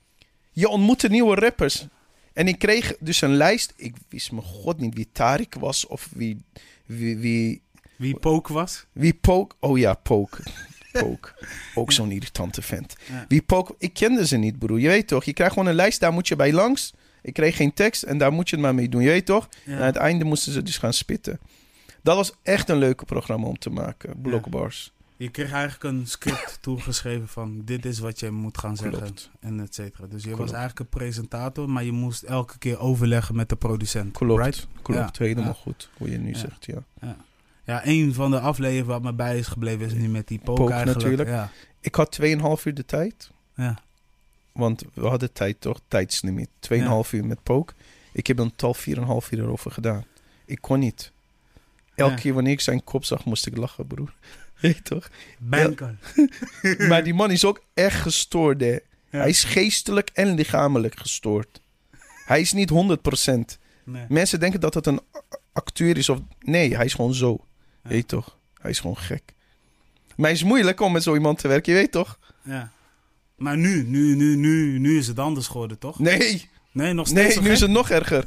Je ontmoette nieuwe rappers. En ik kreeg dus een lijst. Ik wist mijn god niet wie Tarik was of wie... Wie, wie, Wie Pook was? wie Pook... Oh ja, Pook. (laughs) Pook. Ook zo'n irritante vent. Ja. Wie Pook... Ik kende ze niet, broer. Je weet toch? Je krijgt gewoon een lijst, daar moet je bij langs. Ik kreeg geen tekst en daar moet je het maar mee doen. Je weet toch? En aan het einde moesten ze dus gaan spitten. Dat was echt een leuke programma om te maken. Blockbars. Je kreeg eigenlijk een (laughs) script toegeschreven van dit is wat je moet gaan zeggen Klopt. en et cetera. Dus je was Klopt. eigenlijk een presentator, maar je moest elke keer overleggen met de producent. Klopt. right? Klopt. Ja. Helemaal Ja. goed. Hoe je nu Ja. zegt, ja. Ja, een van de afleveringen wat me bij is gebleven is nu met die poke, Poke eigenlijk. natuurlijk. Ja, Ik had 2,5 uur de tijd. ja. Want we hadden tijd toch? Tijdslimiet. 2,5 uur met Pook. Ik heb een tal 4,5 uur erover gedaan. Ik kon niet. Elke Ja. keer wanneer ik zijn kop zag, moest ik lachen, broer. (laughs) Weet je (laughs) toch? Banker. maar die man is ook echt gestoord, hè. Ja. Hij is geestelijk en lichamelijk gestoord. Hij is niet 100%. Nee. Mensen denken dat het een a- acteur is of... Nee, hij is gewoon zo. Ja. Weet je toch? Hij is gewoon gek. Maar het is moeilijk om met zo iemand te werken, je weet toch? Ja. Maar nu, nu, nu, nu, nu is het anders geworden, toch? Nee, Nee, nog steeds. nee, zo nu is gek? het nog (laughs) erger.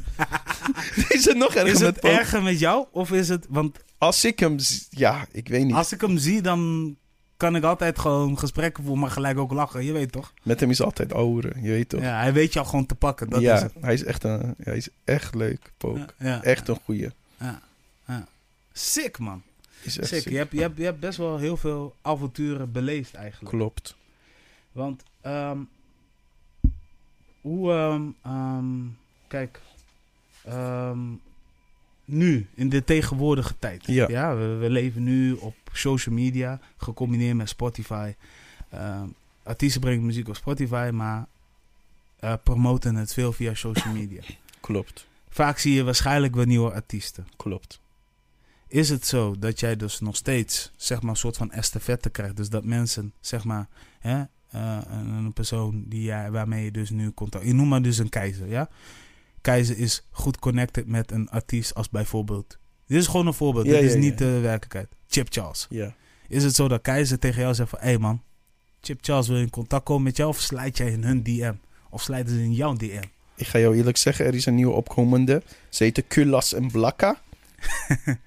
nu is het nog erger Is met het Pook. erger met jou? Of is het. Want Als ik hem... z- Ja, ik weet niet. als ik hem zie, dan kan ik altijd gewoon gesprekken voeren, maar gelijk ook lachen. Je weet toch? Met hem is altijd ouder, je weet toch? Ja, Ja, hij weet jou gewoon te pakken. Dat is het. hij, is echt een, hij is echt leuk, Pook. Ja, ja. Echt een goeie. Sick, man. Is echt Sick. sick. Je, hebt, je, hebt, je hebt best wel heel veel avonturen beleefd, eigenlijk. Klopt. Want, ehm, hoe, ehm, ehm, kijk, ehm, nu, in de tegenwoordige tijd. Ja. we, we leven nu op social media, gecombineerd met Spotify. Ehm, artiesten brengen muziek op Spotify, maar eh, promoten het veel via social media. Klopt. Vaak zie je waarschijnlijk weer nieuwe artiesten. Klopt. Is het zo dat jij dus nog steeds zeg maar, een soort van estafette krijgt? Dus dat mensen, zeg maar, hè, eh, een, een persoon die jij, waarmee je dus nu contact... Ik noem maar dus een keizer, ja? Keizer is goed connected met een artiest als bijvoorbeeld... Dit is gewoon een voorbeeld, Ja, dit ja, is ja. niet de werkelijkheid. Chip Charles. Ja. Is het zo dat keizer tegen jou zegt van... Hé hey man, Chip Charles wil in contact komen met jou of slijt jij in hun DM? Of slijten ze in jouw DM? Ik ga jou eerlijk zeggen, er is een nieuwe opkomende. Ze heten Kulas en Blakka.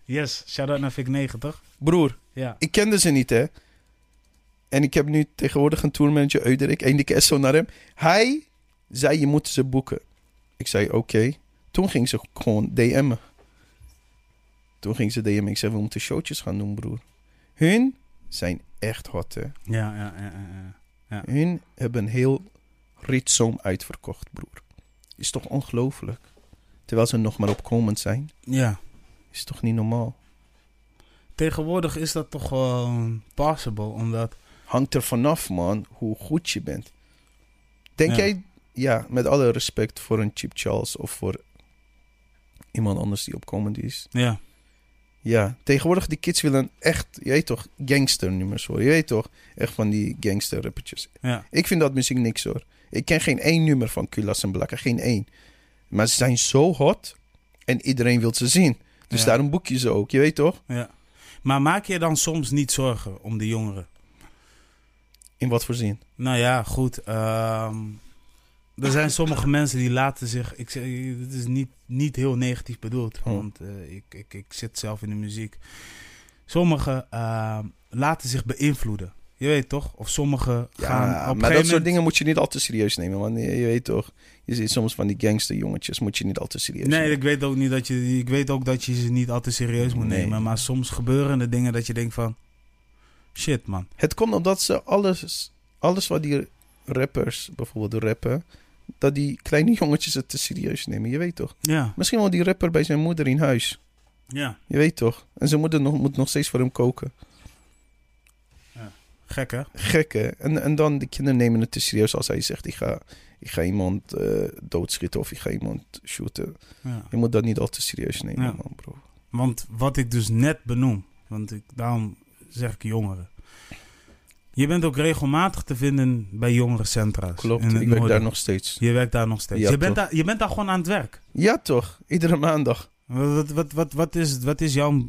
Yes, shout-out naar Vic 90. Broer, Ja. ik kende ze niet, hè. En ik heb nu tegenwoordig een tourmanager, Euderik, één dikke SO naar hem. Hij zei, je moet ze boeken. Ik zei, oké. Toen ging ze gewoon DM'en. Toen ging ze DM'en. Ik zei, we moeten showtjes gaan doen, broer. Hun zijn echt hot, hè. Ja, ja, ja, ja, ja. Hun hebben een heel ritzoom uitverkocht, broer. Is toch ongelooflijk? Terwijl ze nog maar opkomend zijn. Ja. Is toch niet normaal? Tegenwoordig is dat toch gewoon possible, omdat... hangt er vanaf, man, hoe goed je bent. Denk Ja. jij, ja, met alle respect voor een Chip Charles of voor iemand anders die opkomend is. Ja, Ja, tegenwoordig die kids willen echt, je weet toch, gangster nummers hoor. Je weet toch, echt van die gangster rappertjes. ja, Ik vind dat muziek niks hoor. Ik ken geen één nummer van Kulas en Blakker, geen één. Maar ze zijn zo hot en iedereen wil ze zien. Dus Ja. daarom boek je ze ook, je weet toch? ja. Maar maak je dan soms niet zorgen om de jongeren? In wat voor zin? Nou ja, goed. ehm, er zijn sommige (laughs) mensen die laten zich... Ik zeg, dit is niet, niet heel negatief bedoeld, Hmm. want eh, ik, ik, ik zit zelf in de muziek. Sommigen ehm, laten zich beïnvloeden. Je weet toch? Of sommigen gaan op een Ja, gegeven maar dat soort moment- dingen moet je niet al te serieus nemen, man. Je, je weet toch, je ziet soms van die gangsterjongetjes, moet je niet al te serieus Nee, nemen. ik weet ook niet dat je, ik weet ook dat je ze niet altijd serieus moet Nee. nemen. Maar soms gebeuren er dingen dat je denkt van, shit man. Het komt omdat ze alles, alles wat die rappers bijvoorbeeld rappen, dat die kleine jongetjes het te serieus nemen, je weet toch. Ja, Misschien woont die rapper bij zijn moeder in huis, ja. je weet toch. En zijn moeder nog, moet nog steeds voor hem koken. Gek hè? Gek, hè? En, en dan, de kinderen nemen het te serieus als hij zegt, ik ga, ik ga iemand eh, doodschieten of ik ga iemand shooten. Ja. Je moet dat niet al te serieus nemen, Ja. man, bro. Want wat ik dus net benoem, want ik, daarom zeg ik jongeren. Je bent ook regelmatig te vinden bij jongerencentra's. Klopt, in het ik werk noorden. daar nog steeds. Je werkt daar nog steeds. Ja, je, bent toch. daar, je bent daar gewoon aan het werk. Ja, toch? Iedere maandag. Wat, wat, wat, wat, is, wat is jouw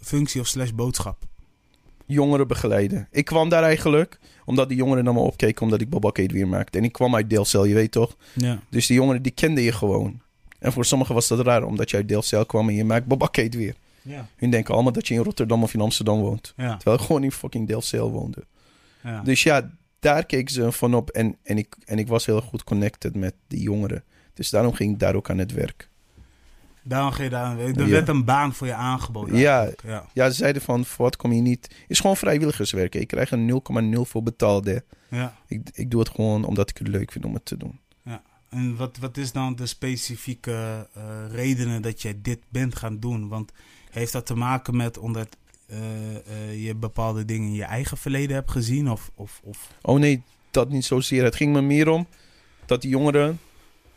functie of slash boodschap? jongeren begeleiden. Ik kwam daar eigenlijk omdat die jongeren naar me opkeken omdat ik Babak weer maakte. En ik kwam uit Deelcel, je weet toch? Ja. Dus die jongeren die kenden je gewoon. En voor sommigen was dat raar omdat je uit Deelcel kwam en je maakt Babak weer. Ja. Hun denken allemaal dat je in Rotterdam of in Amsterdam woont. Ja. Terwijl ik gewoon in fucking Delcel woonde. Ja. Dus ja, daar keek ze van op. En, en, ik, en ik was heel goed connected met die jongeren. Dus daarom ging ik daar ook aan het werk. Daarom ging je daar aan werken. Er Ja. werd een baan voor je aangeboden. Ja, eigenlijk. ja. ja, ze zeiden van, voor wat kom je niet? is gewoon vrijwilligerswerken. Ik krijg een 0,0 voor betaalde. ja. Ik, ik doe het gewoon omdat ik het leuk vind om het te doen. En wat, wat is dan de specifieke eh, redenen dat jij dit bent gaan doen? Want heeft dat te maken met omdat eh, eh, je bepaalde dingen in je eigen verleden hebt gezien? Of, of, of... Oh nee, dat niet zozeer. Het ging me meer om dat die jongeren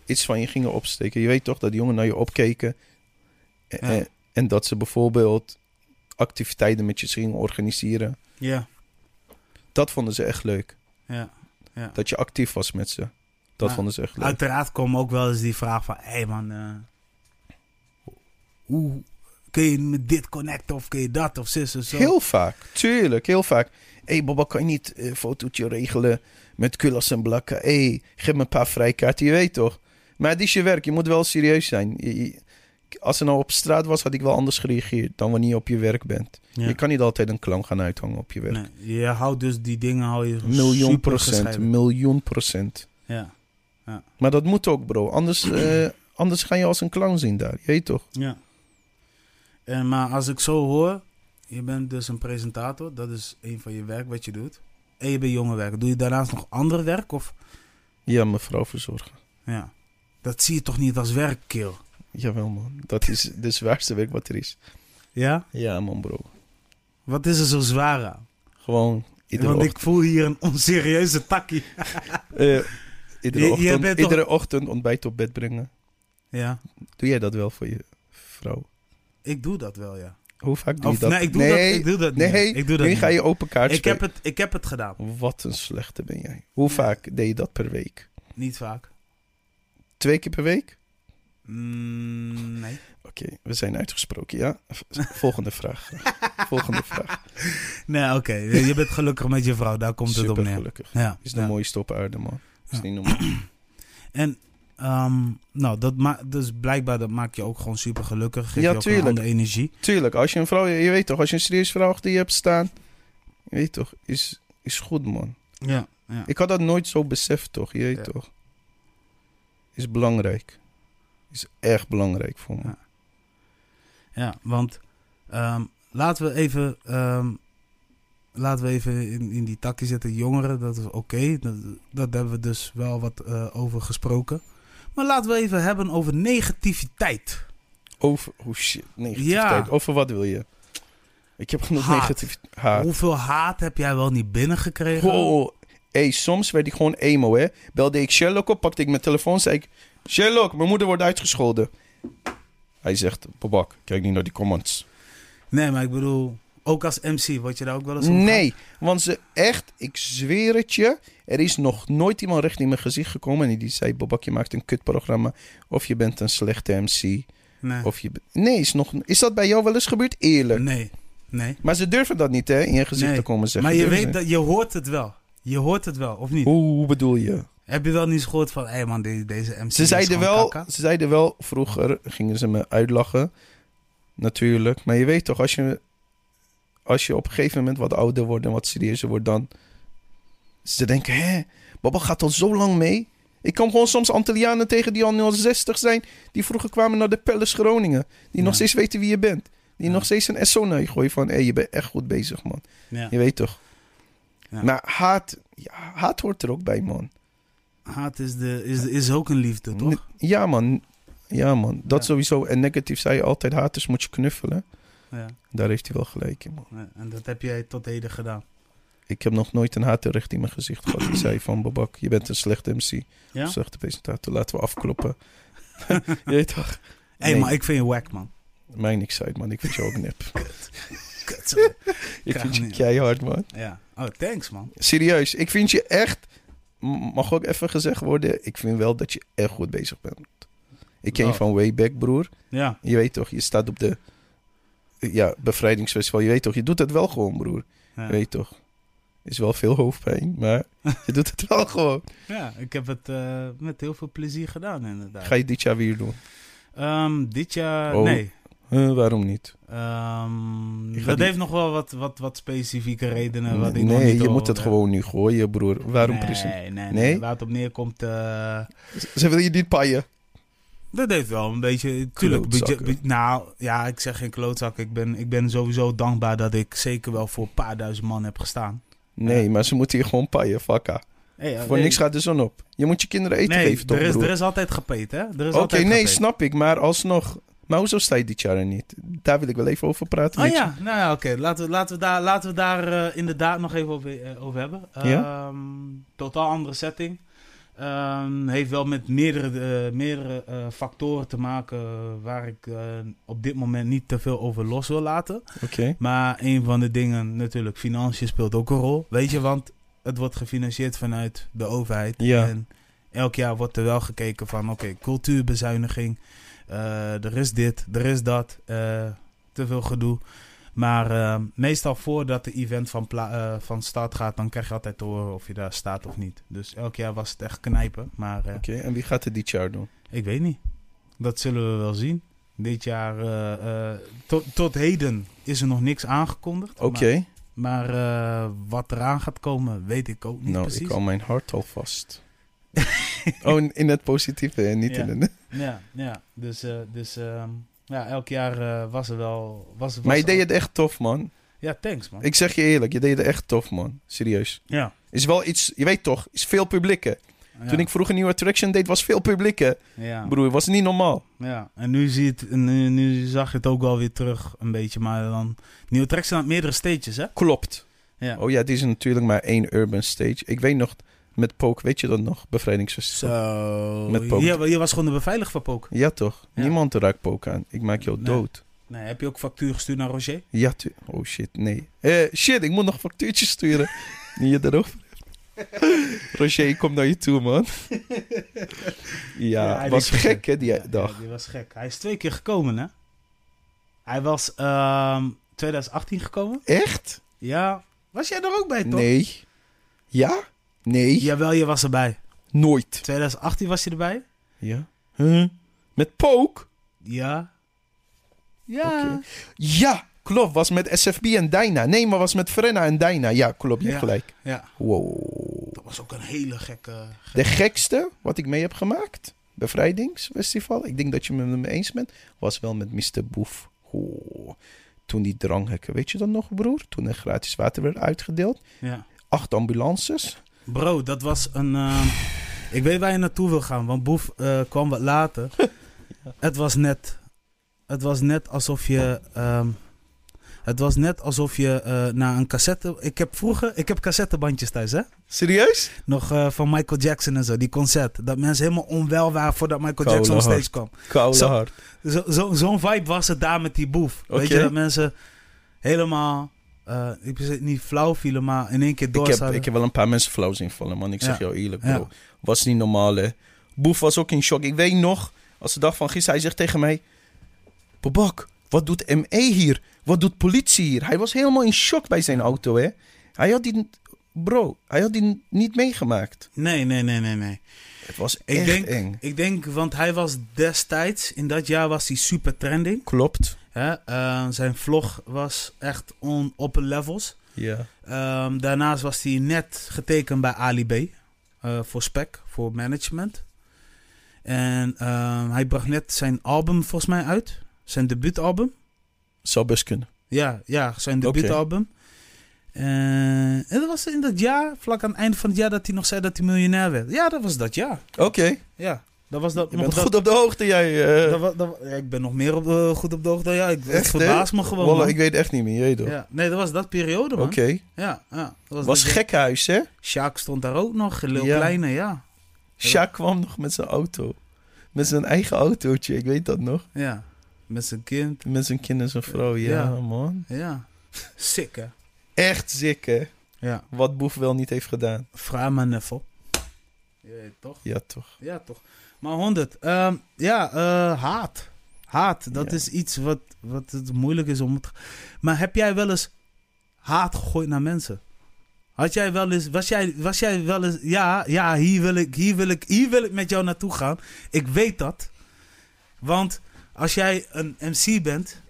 iets van je gingen opsteken. Je weet toch dat die jongeren naar je opkeken. En, Ja. en, en dat ze bijvoorbeeld activiteiten met je gingen organiseren. Ja, Dat vonden ze echt leuk. ja. Dat je actief was met ze. Dat Ja. vonden ze echt leuk. Uiteraard kwam ook wel eens die vraag van... Hé hey man, eh, hoe kun je met dit connecten of kun je dat of zus of zo? Heel vaak, tuurlijk, heel vaak. Hé, hey, Baba, kan je niet eh, een fotootje regelen met kulas en blakken? Hé, hey, geef me een paar vrijkaarten, je weet toch? Maar het is je werk, je moet wel serieus zijn. Je- je- als het nou op straat was, had ik wel anders gereageerd dan wanneer je op je werk bent. Ja. Je kan niet altijd een clown gaan uithangen op je werk. Nee, je houdt dus die dingen hou je miljoen super procent, gescheiden. miljoen procent. Ja, Maar dat moet ook, (clears throat) bro. Anders, eh, anders ga je als een clown zien daar, je weet toch? ja. En, maar als ik zo hoor, je bent dus een presentator. Dat is een van je werk wat je doet. En je bent jongerenwerker. Doe je daarnaast nog ander werk? Of? Ja, mevrouw verzorgen. Ja. Dat zie je toch niet als werk, kerel? Jawel, man. Dat is het zwaarste werk wat er is. Ja? Ja, man, bro. Wat is er zo zwaar aan? Gewoon iedere Want ochtend. ik voel hier een onserieuze takkie. Eh, iedere, Je- je ochtend, bent toch- iedere ochtend ontbijt op bed brengen. Ja, Doe jij dat wel voor je vrouw? ik doe dat wel, ja. Hoe vaak doe Of, je dat? nee, ik doe dat, ik doe dat niet. nee, ik doe dat nu niet. ga je open kaart ik, heb spelen. het, ik heb het gedaan. Wat een slechte ben jij. Hoe Ja. vaak deed je dat per week? Niet vaak. Twee keer per week? Mm, (laughs) nee. Oké, we zijn uitgesproken, ja? V- Volgende (laughs) vraag. Volgende vraag. Nee, oké. Je bent gelukkig met je vrouw. Daar komt het op Super neer. gelukkig. Ja, Is de ja. mooiste op aarde, man. Is Ja. niet normaal. En ehm, nou, dat ma- dus blijkbaar dat maakt je ook gewoon super gelukkig. Geeft Ja, je ook tuurlijk. een andere energie. Tuurlijk, als je een vrouw... Je weet toch, als je een serieus vrouw achter je hebt staan... Je weet toch, is, is goed, man. Ja, ja. Ik had dat nooit zo beseft, toch? Je weet Ja. toch? Is belangrijk. Is erg belangrijk voor me. Ja. ja want ehm, laten we even, ehm, laten we even in, in die takje zitten. Jongeren, dat is oké. Dat, dat hebben we dus wel wat eh, over gesproken. Maar laten we even hebben over negativiteit. Over, oh shit, negativiteit. Ja. Over wat wil je? Ik heb genoeg Haat. negativiteit. Haat. Hoeveel haat heb jij wel niet binnengekregen? Wow. Hey, soms werd ik gewoon emo, hè. Belde ik Sherlock op, pakte ik mijn telefoon, zei ik... Sherlock, mijn moeder wordt uitgescholden. Hij zegt, Babak, kijk niet naar die comments. Nee, maar ik bedoel, ook als MC word je daar ook wel eens om Nee, want ze echt, ik zweer het je, er is nog nooit iemand recht in mijn gezicht gekomen en die zei: Bobak, je maakt een kutprogramma. Of je bent een slechte MC. Nee. Of je. be- Nee, is, nog, is dat bij jou wel eens gebeurd? Eerlijk. nee, nee. Maar ze durven dat niet, hè, in je gezicht Nee, te komen zeggen. Maar je Durven weet ze dat, je hoort het wel. Je hoort het wel, of niet? niet. Hoe, hoe bedoel je? Heb je wel niet eens gehoord van, hé hey man, de- deze MC Ze is zeiden, gewoon wel, kakka? ze zeiden wel, vroeger gingen ze me uitlachen. Natuurlijk. Maar je weet toch, als je, als je op een gegeven moment wat ouder wordt en wat serieuzer wordt, dan. Ze denken, hè, Baba gaat al zo lang mee. Ik kom gewoon soms Antillianen tegen die al nu al 60 zijn. Die vroeger kwamen naar de Palace Groningen. Die nog Ja. steeds weten wie je bent. Die Ja. nog steeds een SO naar je gooien van, hé, je bent echt goed bezig, man. Ja. Je weet toch. Ja. Maar haat, ja, haat hoort er ook bij, man. Haat is, de, is, de- is ook een liefde, toch? Ne- Ja, man. Ja, man. Dat Ja. sowieso. En negatief zei je altijd, haters moet je knuffelen. Ja. Daar heeft hij wel gelijk in, man. Ja, En dat heb jij tot heden gedaan. Ik heb nog nooit een hater recht in mijn gezicht gehad. Die zei van, Babak, je bent een slechte MC. Ja? Slechte presentator. Laten we afkloppen. (laughs) je weet toch? Hé, Nee, maar ik vind je wack, man. Mij niks uit, man. Ik vind je ook (laughs) nep. Kut, zo. ik Krijg vind me je niet. keihard, man. (laughs) ja. Oh, thanks, man. Serieus. Ik vind je echt... m- Mag ook even gezegd worden? Ik vind wel dat je echt goed bezig bent. Ik ken je Nou. van way back, broer. Ja. Je weet toch, je staat op de ja, bevrijdingsfestival. Je weet toch, je doet het wel gewoon, broer. Ja. Je weet toch. Is wel veel hoofdpijn, maar (laughs) je doet het wel gewoon. Ja, ik heb het eh, met heel veel plezier gedaan, inderdaad. Ga je dit jaar weer doen? Ehm, dit jaar, Oh. nee. Huh, waarom niet? Ehm, Ik ga dat die- heeft nog wel wat, wat, wat specifieke redenen. Wat ik nog Nee, niet je over moet het heb. gewoon nu gooien, broer. Waarom nee, precies? Nee, nee, Nee? Waar het op neerkomt... eh, Ze willen je niet paaien. Dat heeft wel een beetje. Tuurlijk, budget, Klootzakken. bu- nou ja, ik zeg geen klootzak. Ik ben, ik ben sowieso dankbaar dat ik zeker wel voor een paar duizend man heb gestaan. Nee, Ja. maar ze moeten je gewoon paaien, fakka. Hey, ja, Voor hey. niks gaat de zon op. Je moet je kinderen eten nee, geven, toch, er is, broer? er is altijd gepeet, hè? Er is Oké, altijd nee, gepeet. snap ik. Maar alsnog... Maar hoezo sta je dit jaar er niet? Daar wil ik wel even over praten. Ah met je. ja, nou ja, oké. Laten, we, laten we daar, laten we daar eh, inderdaad nog even over, eh, over hebben. Ja? Ehm, totaal andere setting. Ehm, heeft wel met meerdere, eh, meerdere eh, factoren te maken waar ik eh, op dit moment niet te veel over los wil laten. Oké. Maar een van de dingen natuurlijk, financiën speelt ook een rol. Weet je, want het wordt gefinancierd vanuit de overheid. Ja. En elk jaar wordt er wel gekeken van, oké, cultuurbezuiniging. eh, er is dit, er is dat. eh, te veel gedoe. Maar eh, meestal voordat de event van, pla- eh, van start gaat, dan krijg je altijd te horen of je daar staat of niet. Dus elk jaar was het echt knijpen. Maar eh, Oké, en wie gaat het dit jaar doen? ik weet niet. Dat zullen we wel zien. Dit jaar, eh, eh, tot, tot heden is er nog niks aangekondigd. Oké. Maar, maar, eh, wat eraan gaat komen, weet ik ook niet Nou, precies. ik hou mijn hart al (laughs) vast. oh, in, in het positieve en niet Ja. in het... Ja, ja. Dus, eh, dus ehm, ja, elk jaar eh, was er wel... Was, was Maar je er deed al- het echt tof, man. Ja, thanks man. Ik zeg je eerlijk, je deed het echt tof, man. Serieus. Ja. Is wel iets... Je weet toch, is veel publiek, hè? Toen ik vroeger een nieuwe attraction deed, was veel publiek, hè? Ja, Broer, was niet normaal. ja. en nu, zie je het, nu, nu zag je het ook wel weer terug een beetje. Maar dan... Nieuwe tracks zijn aan meerdere stages, hè? Klopt. Ja. Oh ja, dit is natuurlijk maar één urban stage. Ik weet nog, met Pook, weet je dat nog? Bevrijdingsfestival. Zo. Met Pook. je, je was gewoon de beveiliger van Pook. Ja toch? Ja. Niemand raakt Pook aan. Ik maak jou Nee. dood. Nee, heb je ook factuur gestuurd naar Roger? Ja, tu- Oh shit, nee. Eh, shit, ik moet nog factuurtjes (laughs) sturen. Niet je daarover hebt. Roger, ik kom naar je toe, (laughs) man. ja, hij was deed gek, hè, die Ja, dag. ja, die was gek. Hij is twee keer gekomen, hè? Hij was ehm 2018 gekomen. Echt? Ja. Was jij er ook bij, toch? Nee. Ja? Nee. Jawel, je was erbij. Nooit. 2018 was je erbij? Ja? Huh? Met Pook? Ja. Ja. Oké. Ja, klopt. Was met SFB en Dyna. Nee, maar was met Frenna en Dyna. Ja, klopt. Je hebt Ja. gelijk. Ja. Wow. Dat was ook een hele gekke... De gekste wat ik mee heb gemaakt, bevrijdingsfestival, ik denk dat je het met me eens bent, was wel met Mr. Boef. Oh, toen die dranghekken, weet je dat nog broer? Toen er gratis water werd uitgedeeld. Ja. Acht ambulances. Bro, dat was een... ehm, Ik weet waar je naartoe wil gaan, want Boef eh, kwam wat (laughs) later. Het was net... Het was net alsof je... ehm, het was net alsof je eh naar een cassette... Ik heb vroeger... Ik heb cassettebandjes thuis, hè? Serieus? Nog eh, van Michael Jackson en zo, die concert. Dat mensen helemaal onwel waren voordat Michael Koude Jackson op stage hart. kwam. Koude Zo- hard. Zo- zo- Zo'n vibe was het daar met die boef. Weet Oké. je, dat mensen helemaal, eh, ik weet het niet flauw vielen, maar in één keer Ik heb, doorzaten. ik heb wel een paar mensen flauw zien vallen, man. Ik zeg Ja. jou eerlijk, Ja. bro. Was niet normaal, hè. Boef was ook in shock. Ik weet nog, als de dag van gisteren, hij zegt tegen mij... Babak, wat doet ME hier? Wat doet politie hier? Hij was helemaal in shock bij zijn auto, hè. Hij had die... Bro, hij had die niet meegemaakt. Nee, nee, nee, nee, nee. Het was Ik echt denk- eng. Ik denk, want hij was destijds, in dat jaar was hij super trending. Klopt. Hè? Eh, zijn vlog was echt on upper levels. Ja. Ehm, daarnaast was hij net getekend bij Ali B. eh, voor spec, voor management. En ehm, hij bracht net zijn album volgens mij uit. Zijn debuutalbum. Zou best kunnen. Ja, ja zijn debuutalbum. Eh, en dat was in dat jaar, vlak aan het einde van het jaar, dat hij nog zei dat hij miljonair werd. Ja, dat was dat jaar. Oké, Ja, dat was dat. je nog bent dat, goed op de hoogte, jij. eh. dat wa- dat wa- ja, ik ben nog meer op, eh, goed op de hoogte. dan Ja, ik, het Echt, hè? verbaas me gewoon. Wallah, man. ik weet echt niet meer, jij toch? ja, nee, dat was dat periode, man. Oké. Ja, ja, dat Was dat- gek huis, hè? Sjaak stond daar ook nog, Lil Ja. Kleine, ja. Sjaak kwam nog met zijn auto. Met zijn eigen autootje, ik weet dat nog. Ja, met zijn kind, Met zijn kind en zijn vrouw, ja, Ja. man. ja. Sick, hè? Echt ziek, hè? Ja. Wat Boef wel niet heeft gedaan. Vraag maar Neffel. Je weet toch? Ja, toch. Ja, toch. Maar 100. ehm, ja, eh, haat. Haat, dat Ja. is iets wat, wat het moeilijk is om... Het... Maar heb jij wel eens haat gegooid naar mensen? Had jij wel eens... Was jij, was jij wel eens... Ja, ja hier, wil ik, hier, wil ik, hier wil ik met jou naartoe gaan. Ik weet dat. Want Als jij een MC bent,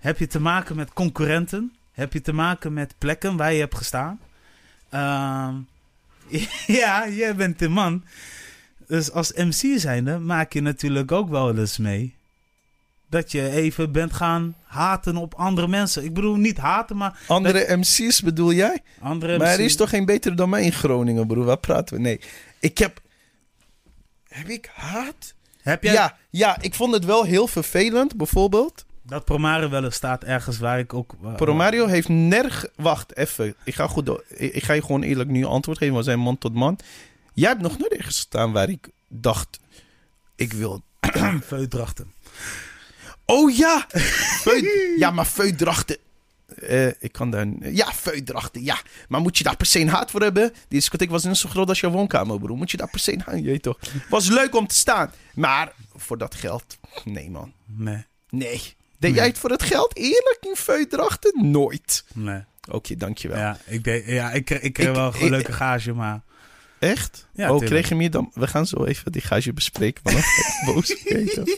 heb je te maken met concurrenten. Heb je te maken met plekken waar je hebt gestaan. Ehm, (laughs) ja, jij bent de man. Dus als MC zijnde maak je natuurlijk ook wel eens mee. Dat je even bent gaan haten op andere mensen. Ik bedoel, niet haten, maar Andere MC's bedoel jij? andere Maar er MC's. is toch geen betere dan mij in Groningen, broer? Waar praten we? Nee. Ik heb... Heb ik haat? Heb jij Ja, ja, ik vond het wel heel vervelend, bijvoorbeeld. dat Promare wel eens staat ergens waar ik ook... eh, waar- Poromario heeft nerg... Wacht, even. Ik ga, goed door. ik ik ga je gewoon eerlijk nu antwoord geven. We zijn man tot man. Jij hebt nog nooit ergens gestaan waar ik dacht... Ik wil... (clears throat) Veudrachten. Oh ja! Veu- ja, maar veudrachten... Eh, ik kan daar... Ja, veudrachten, ja. Maar moet je daar per se een haat voor hebben? Die discotheek was net zo groot als jouw woonkamer, broer. Moet je daar per se een haat... Jeet toch. Was leuk om te staan. Maar voor dat geld... Nee, man. Nee, Nee. Deed jij het voor het geld? Eerlijk in veudrachten? Nooit. nee. Oké, dankjewel. Ja, ik, deed, ja, ik, kreeg- ik kreeg Ik- wel een ik- leuke gage, maar... Echt? Ja, oh, tuurlijk. kreeg je meer dan... We gaan zo even die gage bespreken. Want (laughs) dan boos kijken.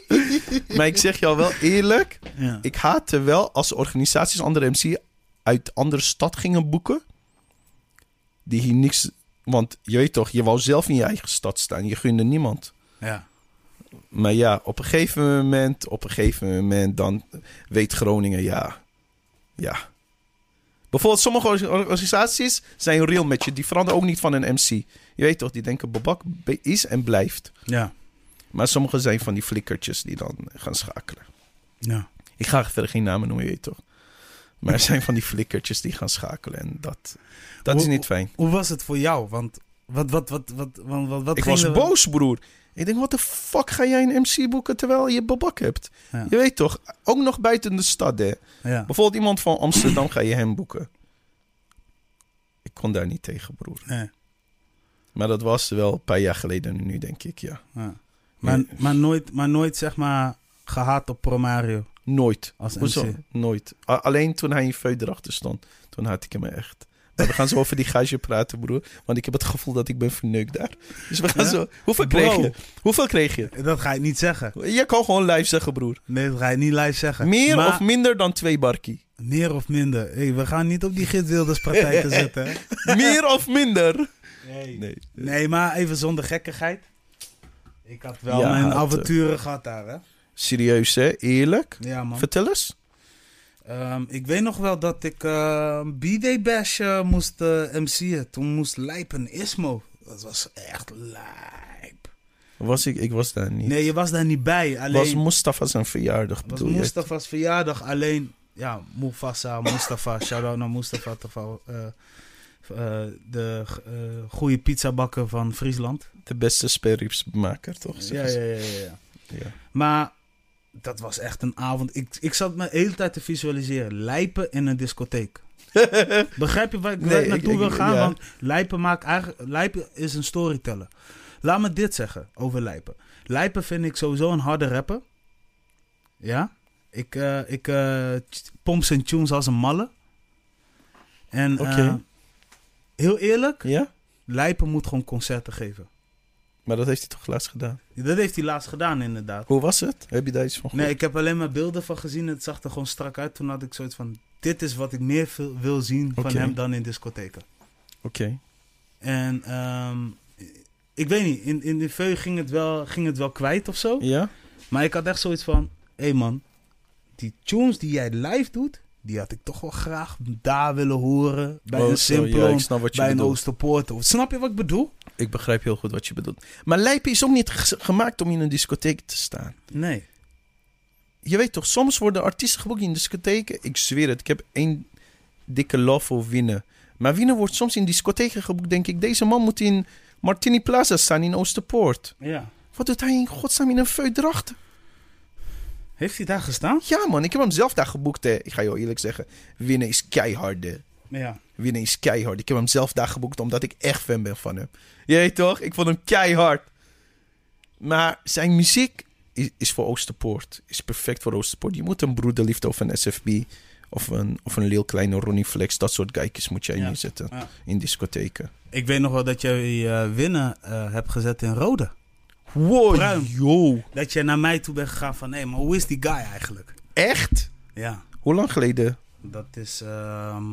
Maar ik zeg jou wel eerlijk. Ja. Ik haatte wel als organisaties andere MC uit andere stad gingen boeken. Die hier niks... Want je weet toch, je wou zelf in je eigen stad staan. Je gunde niemand. ja. Maar ja, op een gegeven moment, op een gegeven moment, dan weet Groningen ja. Ja. Bijvoorbeeld, sommige or- or- organisaties zijn real met je. Die veranderen ook niet van een MC. Je weet toch, die denken Babak be- is en blijft. Ja. Maar sommige zijn van die flikkertjes die dan gaan schakelen. Ja. Ik ga verder geen namen noemen, je weet toch. Maar er zijn van die flikkertjes die gaan schakelen. En dat, dat is Hoe- niet fijn. Hoe was het voor jou? Want wat, wat, wat, wat, wat, wat, wat Ik ging was er- boos, broer. Ik denk, wat de fuck ga jij een MC boeken terwijl je babak hebt? Ja. Je weet toch, ook nog buiten de stad, hè. Ja. Bijvoorbeeld iemand van Amsterdam ga je hem boeken. Ik kon daar niet tegen, broer. Nee. Maar dat was wel een paar jaar geleden nu, denk ik, ja. Ja. Maar, Nee. maar, nooit, maar nooit, zeg maar, gehaat op Promario Nooit. als MC. Hoezo? Nooit. A- alleen toen hij in Feu erachter stond, toen had ik hem echt. Maar we gaan zo over die gage praten, broer. Want ik heb het gevoel dat ik ben verneukt daar. Dus we gaan Ja? zo... Hoeveel Bro. kreeg je? Hoeveel kreeg je? Dat ga ik niet zeggen. Je kan gewoon live zeggen, broer. Nee, dat ga ik niet live zeggen. Meer Maar- of minder dan twee barkie. Meer of minder. Hey, we gaan niet op die (laughs) gidswilderspraktijken zitten. hè. Meer of minder. Nee. (laughs) Nee. nee, maar even zonder gekkigheid. Ik had wel Ja, mijn had, eh, avonturen gehad daar, hè? Serieus, hè? Eerlijk? Ja, man. Vertel eens. Ehm, ik weet nog wel dat ik eh, een B-Day Bash eh, moest eh, MC'en. Toen moest Lijpen Ismo. Dat was echt lijp. Was ik... Ik was daar niet. Nee, je was daar niet bij. Alleen was Mustafa zijn verjaardag, was bedoel je? Mustafa's verjaardag. Alleen, ja, Mufasa, Mustafa. (laughs) Shout-out naar Mustafa. Tafal, eh, eh, de eh, goede pizzabakker van Friesland. De beste sperripsmaker, toch? Ja, ja, ja, ja, ja. Ja. Maar dat was echt een avond. Ik, ik zat me de hele tijd te visualiseren. Lijpen in een discotheek. (laughs) Begrijp je waar ik, waar Nee, ik naartoe ik- wil ik- gaan? ja. Want Lijpen, maakt eigenlijk, Lijpen is een storyteller. Laat me dit zeggen over Lijpen. Lijpen vind ik sowieso een harde rapper. Ja? Ik, eh ik eh, t- pomp zijn tunes als een malle. En eh, Oké. heel eerlijk, Ja? Lijpen moet gewoon concerten geven. Maar dat heeft hij toch laatst gedaan? Dat heeft hij laatst gedaan inderdaad. Hoe was het? Heb je daar iets van Nee, gehoord? ik heb alleen maar beelden van gezien. Het zag er gewoon strak uit. Toen had ik zoiets van: dit is wat ik meer wil- wil zien van Oké. hem dan in discotheken. Oké. En ehm, ik weet niet, in, in de veu ging het, wel, ging het wel kwijt of zo. Ja? Maar ik had echt zoiets van: hé hey man, die tunes die jij live doet, die had ik toch wel graag daar willen horen. Bij Oh, een zo, ja, Simplon, ik snap wat je bij een bedoelt. Oosterpoort. Of- Snap je wat ik bedoel? Ik begrijp heel goed wat je bedoelt. Maar lijpen is ook niet ge- gemaakt om in een discotheek te staan. Nee. Je weet toch, soms worden artiesten geboekt in discotheken. Ik zweer het, ik heb één dikke love voor Winnen. Maar Winnen wordt soms in discotheken geboekt, denk ik. Deze man moet in Martini Plaza staan in Oosterpoort. Ja. Wat doet hij in godsnaam in een feudracht? Heeft hij daar gestaan? Ja, man, ik heb hem zelf daar geboekt. Hè. Ik ga je wel eerlijk zeggen: winnen is keihard. hè. Ja. Winnen is keihard. Ik heb hem zelf daar geboekt omdat ik echt fan ben van hem. Je weet toch? Ik vond hem keihard. Maar zijn muziek is, is voor Oosterpoort. Is perfect voor Oosterpoort. Je moet een broederliefde of een SFB. Of een, of een Lil Kleine Ronnie Flex. Dat soort geikjes moet jij Ja. neerzetten. Ja. In discotheken. Ik weet nog wel dat jij eh, winnen eh, hebt gezet in Rode. Wow, Bruin. yo. Dat jij naar mij toe bent gegaan van, hé, maar hoe is die guy eigenlijk? Echt? Ja, Hoe lang geleden? dat is, ehm,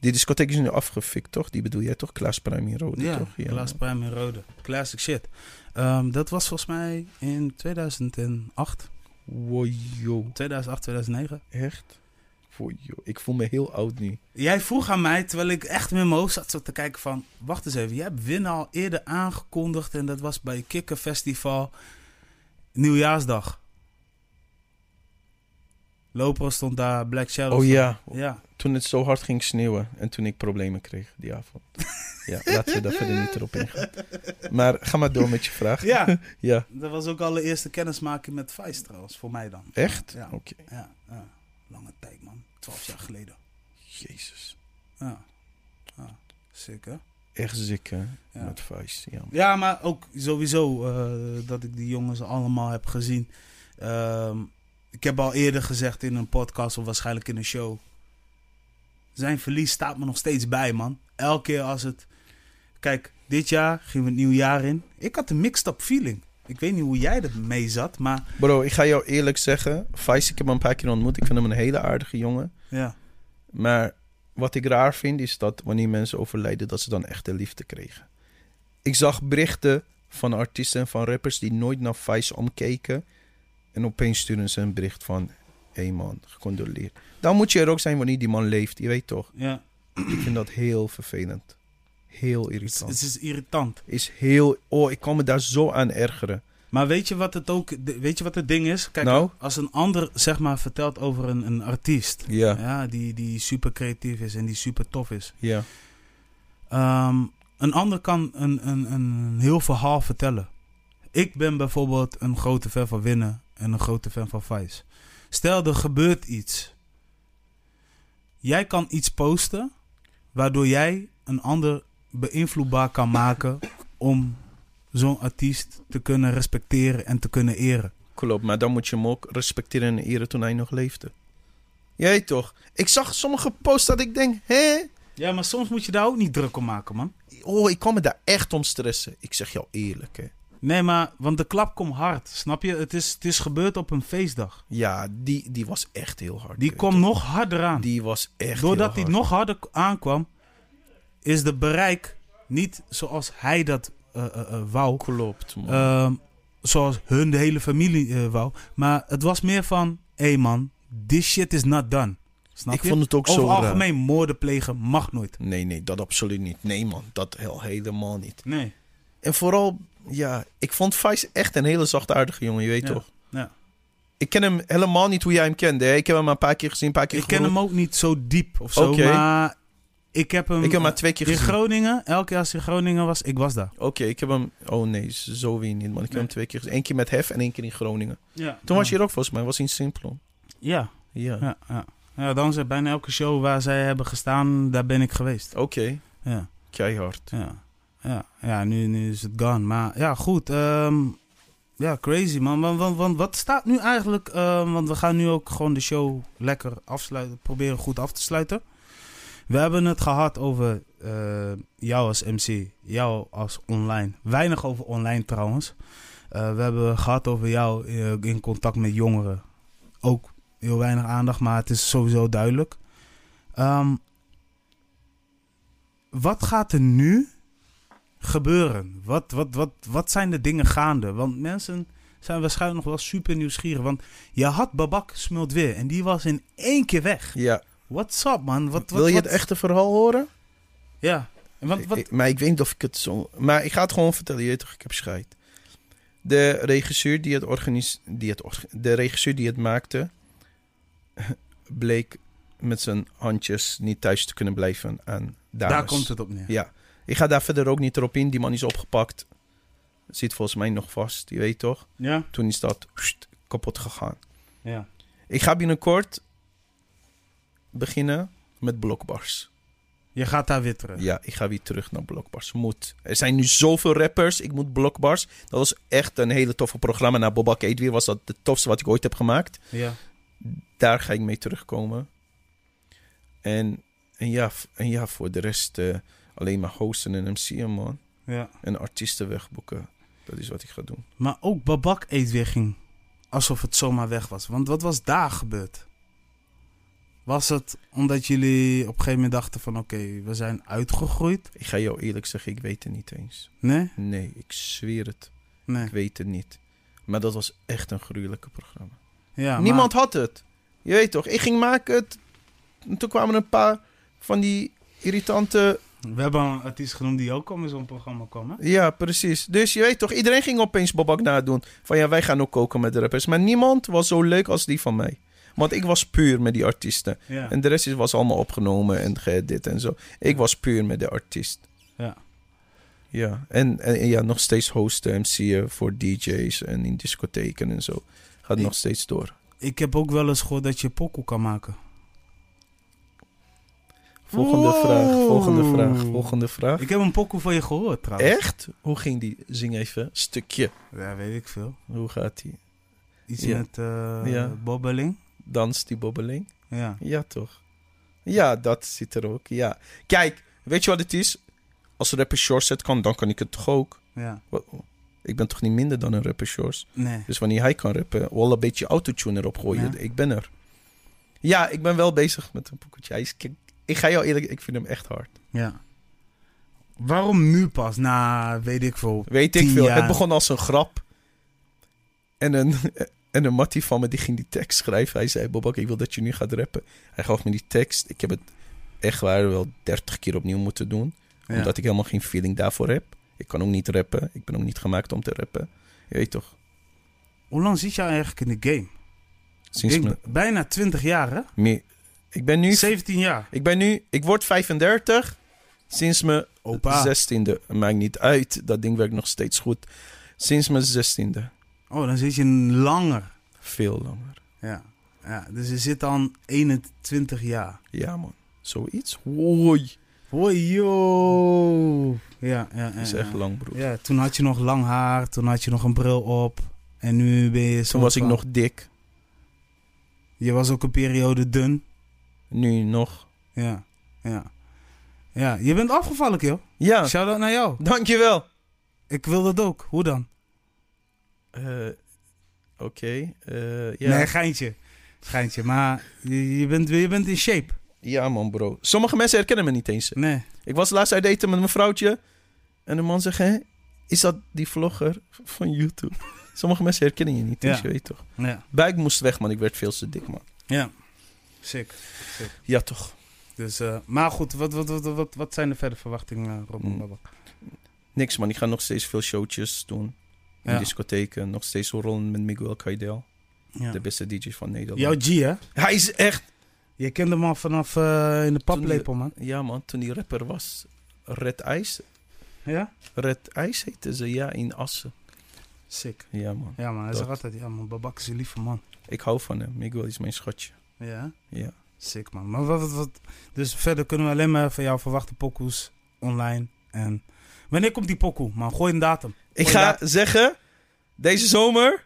Die discotheek is nu afgefikt, toch? Die bedoel jij toch? Klaas Prime in Rode, ja, toch? Klaas Prime in Rode. Classic shit. Ehm, dat was volgens mij in 2008, Wow, yo. 2008, 2009. Echt? Wow, yo. Ik voel me heel oud nu. Jij vroeg aan mij, terwijl ik echt met mijn hoofd zat zo te kijken van... Wacht eens even, jij hebt Win al eerder aangekondigd en dat was bij Kikker Festival Nieuwjaarsdag. Lopo stond daar, Black Shadow. Oh stond- ja, Ja, toen het zo hard ging sneeuwen en toen ik problemen kreeg die avond. Ja, laten we daar verder niet erop ingaan. Maar ga maar door met je vraag. ja. Ja, dat was ook al de eerste kennismaking met Vice trouwens, voor mij dan. echt? Ja. Oké. Ja, ja. lange tijd man, twaalf jaar geleden. Jezus. Ja, ja. sick hè? Echt ziek, hè? Ja. Met vuist. Ja. Ja, maar ook sowieso eh, dat ik die jongens allemaal heb gezien. Ehm, ik heb al eerder gezegd in een podcast of waarschijnlijk in een show. Zijn verlies staat me nog steeds bij, man. Elke keer als het. Kijk, dit jaar gingen we het nieuwe jaar in. Ik had een mixed-up feeling. Ik weet niet hoe jij er mee zat, maar Bro, ik ga jou eerlijk zeggen. Vice, ik heb hem een paar keer ontmoet. Ik vind hem een hele aardige jongen. ja. Maar wat ik raar vind is dat wanneer mensen overlijden, dat ze dan echte liefde kregen. Ik zag berichten van artiesten en van rappers die nooit naar Vice omkeken. En opeens sturen ze een bericht van: hé hey man, gecondoleerd. Dan moet je er ook zijn wanneer die man leeft, je weet toch? ja. Ik vind dat heel vervelend. Heel Het, irritant. het is irritant. Is heel. Oh, ik kan me daar zo aan ergeren. Maar weet je wat het ook. de- Weet je wat het ding is? Kijk, Nou? als een ander zeg maar vertelt over een, een artiest. Ja. Ja, die, die super creatief is en die super tof is. Ja. Ehm, een ander kan een, een, een heel verhaal vertellen. Ik ben bijvoorbeeld een grote fan van winnen en een grote fan van Vice. Stel, er gebeurt iets. Jij kan iets posten waardoor jij een ander beïnvloedbaar kan (laughs) maken om zo'n artiest te kunnen respecteren en te kunnen eren. Klopt, maar dan moet je hem ook respecteren en eren toen hij nog leefde. Jij toch? Ik zag sommige posts dat ik denk, hè? Ja, maar soms moet je daar ook niet druk om maken, man. Oh, ik kan me daar echt om stressen. Ik zeg jou eerlijk, hè. Nee, maar want de klap komt hard, snap je? Het is, het is gebeurd op een feestdag. Ja, die, die was echt heel hard. Die hè. kwam nog harder aan. Die was echt Doordat heel hij hard. nog harder k- aankwam, is de bereik niet zoals hij dat eh, eh, eh, wou. Klopt, man. Ehm, zoals hun de hele familie eh, wou. Maar het was meer van, hé man, this shit is not done. Snap ik je? vond het ook Over zo raar. algemeen, moorden plegen mag nooit. Nee, nee, dat absoluut niet. Nee, man, dat heel, helemaal niet. Nee. En vooral, ja, ik vond Vice echt een hele zachtaardige jongen, je weet Ja, toch? ja. Ik ken hem helemaal niet hoe jij hem kende, hè. Ik heb hem een paar keer gezien, een paar keer Ik ken gegroet. hem ook niet zo diep of zo, Oké. maar ik heb hem... Ik heb hem maar twee keer in gezien. Groningen, elke keer als hij in Groningen was, ik was daar. Oké, ik heb hem. Oh nee, zo weer niet, man. Ik heb Nee. hem twee keer gezien. Eén keer met Hef en één keer in Groningen. Ja. Toen was je er ook volgens mij, was in Simplon. Ja, Ja. ja, ja. ja dan zijn bijna elke show waar zij hebben gestaan, daar ben ik geweest. Oké, Ja, keihard. ja, ja, ja nu, nu is het gone. Maar ja, goed. ehm, ja, crazy man. Want, want, want wat staat nu eigenlijk... ehm, want we gaan nu ook gewoon de show lekker afsluiten. Proberen goed af te sluiten. We hebben het gehad over eh, jou als MC. Jou als online. Weinig over online trouwens. Eh, we hebben gehad over jou eh, in contact met jongeren. Ook heel weinig aandacht, maar het is sowieso duidelijk. Ehm, wat gaat er nu gebeuren? Wat, wat, wat, wat zijn de dingen gaande? Want mensen zijn waarschijnlijk nog wel super nieuwsgierig. Want je had Babak smult weer en die was in één keer weg. Ja. What's up, man? Wat, wat, Wil je wat- het echte verhaal horen? Ja. En Want, wat... Ik- maar ik weet niet of ik het zo. Maar ik ga het gewoon vertellen. Je weet toch, ik heb scheid. De regisseur die het, organis... die het, orga- de regisseur die het maakte. (laughs) bleek met zijn handjes niet thuis te kunnen blijven aan dames. daar komt het op neer. Ja. Ik ga daar verder ook niet erop in. Die man is opgepakt. Zit volgens mij nog vast. Je weet toch? Ja? Toen is dat pssst, kapot gegaan. Ja. Ik ga binnenkort beginnen met Blockbars. Je gaat daar weer terug. Ja, ik ga weer terug naar Blockbars. Moet. Er zijn nu zoveel rappers. Ik moet Blockbars. Dat was echt een hele toffe programma. Na Bobak Eetweer was dat het tofste wat ik ooit heb gemaakt. Ja. Daar ga ik mee terugkomen. En, en, ja, f- en ja, voor de rest eh, alleen maar hosten en MC'en, man. ja. En artiesten wegboeken. Dat is wat ik ga doen. Maar ook Babak eet weer ging. Alsof het zomaar weg was. Want wat was daar gebeurd? Was het omdat jullie op een gegeven moment dachten van... Oké, we zijn uitgegroeid? Ik ga jou eerlijk zeggen, ik weet het niet eens. Nee? Nee, ik zweer het. Nee. Ik weet het niet. Maar dat was echt een gruwelijke programma. Ja, maar- Niemand had het. Je weet toch, ik ging maken het. En toen kwamen een paar van die irritante... we hebben een artiest genoemd die ook al in zo'n programma kwam, hè? Ja, precies. Dus je weet toch, iedereen ging opeens Babak nadoen. Van ja, wij gaan ook koken met de rappers. Maar niemand was zo leuk als die van mij. Want ik was puur met die artiesten. Ja. En de rest is, was allemaal opgenomen en ge- dit en zo. Ik was puur met de artiest. Ja. Ja, en, en en ja, nog steeds eh, hosten, MC'en voor DJ's en in discotheken en zo. Gaat Ik- nog steeds door. Ik heb ook wel eens gehoord dat je pokoe kan maken. Volgende Wow. vraag, volgende vraag, volgende vraag. Ik heb een pokoe van je gehoord, trouwens. Echt? Hoe ging die? Zing even, stukje. Ja, weet ik veel. Hoe gaat die? Iets Ja. met eh Ja. bobbeling. Danst die bobbeling? Ja. Ja, toch? Ja, dat zit er ook, ja. Kijk, weet je wat het is? Als een rapper short set kan, dan kan ik het toch ook? ja. Wa- Ik ben toch niet minder dan een rapper shorts? Nee. Dus wanneer hij kan rappen, wel een beetje autotune erop gooien. Ja. Ik ben er. Ja, ik ben wel bezig met een poekertje. Hij is, ik, ik ga jou eerlijk, ik vind hem echt hard. Ja. Waarom nu pas? Nou, weet ik veel. Weet ik Tien veel. jaar. Het begon als een grap. En een, (laughs) en een mattie van me, die ging die tekst schrijven. Hij zei, Bobak, ik wil dat je nu gaat rappen. Hij gaf me die tekst. Ik heb het echt waar wel 30 keer opnieuw moeten doen. Ja. Omdat ik helemaal geen feeling daarvoor heb. Ik kan ook niet rappen. Ik ben ook niet gemaakt om te rappen. Je weet toch. Hoe lang zit jij eigenlijk in de game? Ik Sinds denk me, b- bijna 20 jaar, hè? meer, ik ben nu 17 jaar. Ik ben nu, ik word 35 sinds mijn Opa. 16e. Maakt niet uit, dat ding werkt nog steeds goed. Sinds mijn 16e. Oh, dan zit je langer. Veel langer. Ja. ja. Dus je zit dan 21 jaar. Ja, man. Zoiets. Hoi. Hoi, joh. Ja, ja, ja. Dat is ja. echt lang, broer. Ja, toen had je nog lang haar, toen had je nog een bril op. En nu ben je. Toen was ik nog dik. Je was ook een periode dun. Nu nog. Ja, ja. Ja, je bent afgevallen, joh. Ja, Shout out naar jou. dankjewel. Ik wil dat ook. Hoe dan? Eh, Oké. eh, ja. Nee, geintje. Geintje, maar je, je, bent, je bent in shape. ja, man, bro. Sommige mensen herkennen me niet eens. Nee. Ik was laatst uit eten met mijn vrouwtje. En de man zegt, hè, is dat die vlogger van YouTube? (laughs) Sommige mensen herkennen je niet eens, Ja. je weet toch. Ja. Buik moest weg, man. Ik werd veel te dik, man. Ja. Sick. Ja, toch. Dus, eh, maar goed, wat, wat, wat, wat, wat zijn de verdere verwachtingen, eh, Robin Mm. Babak? Niks, man. Ik ga nog steeds veel showtjes doen. In Ja. discotheken. Nog steeds rollen met Miguel Caidel. Ja. De beste DJ van Nederland. Jouw G, hè? Hij is echt... Je kent hem al vanaf eh, in de Toen paplepel, man. Ja, man. Toen die rapper was. Red Ice. Ja? Red Ice heette ze, ja, in Assen. Sick. Ja, man. Ja, man. Hij Dat. zegt altijd, ja, man, Babak is een lieve man. Ik hou van hem. Miguel is mijn schatje. Ja. Ja. Sick man. Maar wat, wat, wat- dus verder kunnen we alleen maar van jou verwachten pokoes online. En wanneer komt die pokoe? Man, gooi een datum. Ik Gooi ga dat- zeggen, deze zomer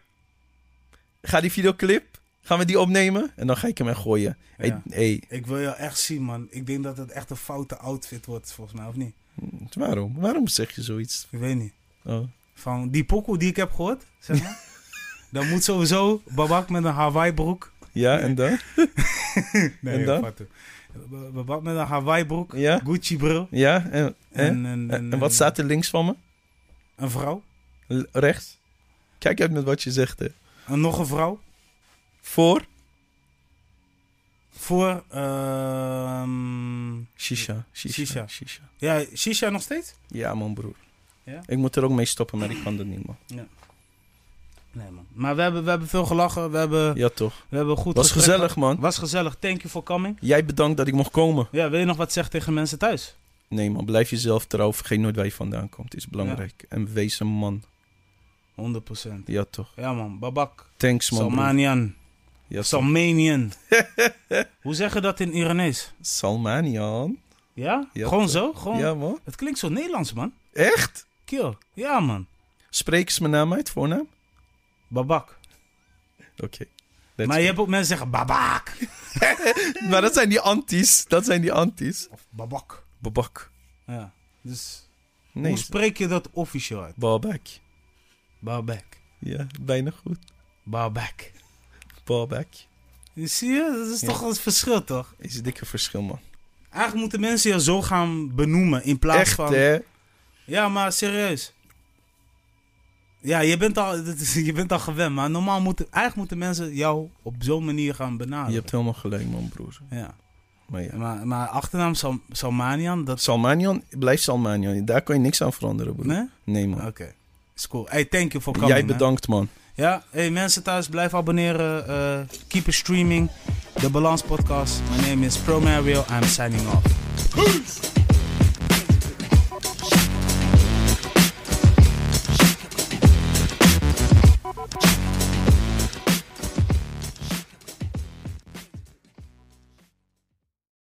ga die videoclip, gaan we die opnemen en dan ga ik hem echt gooien. Hey, Ja. hey, Ik wil jou echt zien man. Ik denk dat het echt een foute outfit wordt volgens mij, of niet? hm, waarom? Waarom zeg je zoiets? Ik weet niet. Oh. Van die pokoe die ik heb gehoord, zeg (laughs) maar. dan moet sowieso Babak met een Hawaii broek. Ja, en dan? Nee, En dan? joh, fout. Ba- Babak met een Hawaii broek, Ja, Gucci bril. ja. En, en, En, en, en wat staat er links van me? Een vrouw. L- rechts? Kijk uit met wat je zegt, hè. En nog een vrouw. Voor? Voor, ehm, Shisha. Shisha. Shisha. shisha. ja, Shisha nog steeds? Ja, man, broer. Ja? Ik moet er ook mee stoppen, maar ik kan dat niet, man. Nee, man. Maar we hebben, we hebben veel gelachen. We hebben, Ja, toch. we hebben goed Was gesprek gezellig, gehad. man. Was gezellig. Thank you for coming. Jij bedankt dat ik mocht komen. Ja, wil je nog wat zeggen tegen mensen thuis? Nee, man. Blijf jezelf trouw. Vergeet nooit waar je vandaan komt. is belangrijk. En wees een man. 100%. Ja, toch. Ja, man. Babak. Thanks, man. broer. Salmanian. Ja, Sal- (laughs) Salmanian. Hoe zeg je dat in Iranees? Salmanian. Ja? Ja, Gewoon toch? zo? Gewoon... Ja, man. Het klinkt zo Nederlands, man. Echt? Kill. Ja, man. Spreek eens mijn naam uit, voornaam? Babak. Oké. Let's maar je hebt ook mensen zeggen babak. go. Maar dat zijn die antis. Dat zijn die antis. Of babak. Babak. Ja. Dus Nee. hoe spreek je dat officieel uit? Babak. Baalbek. Ja, bijna goed. Baalbek. Ballback. Zie je? Dat is Ja. toch het verschil, toch? Is een dikke verschil, man. Eigenlijk moeten mensen je zo gaan benoemen in plaats Echt, van... hè? Ja, maar serieus. Ja, je bent al, (laughs) je bent al gewend, maar normaal moeten, eigenlijk moeten mensen jou op zo'n manier gaan benaderen. Je hebt helemaal gelijk, man, broer. Ja. Maar ja. Maar, maar achternaam Sal- Salmanian, dat... Salmanian blijft Salmanian. Daar kan je niks aan veranderen, broer. Nee, Nee? Oké. man. Is cool. Hey, thank you for coming. Jij hè. bedankt, man. Ja, hey mensen thuis, blijf abonneren. eh keep it streaming. De Balans Podcast. My name is Pro Mario. I'm signing off.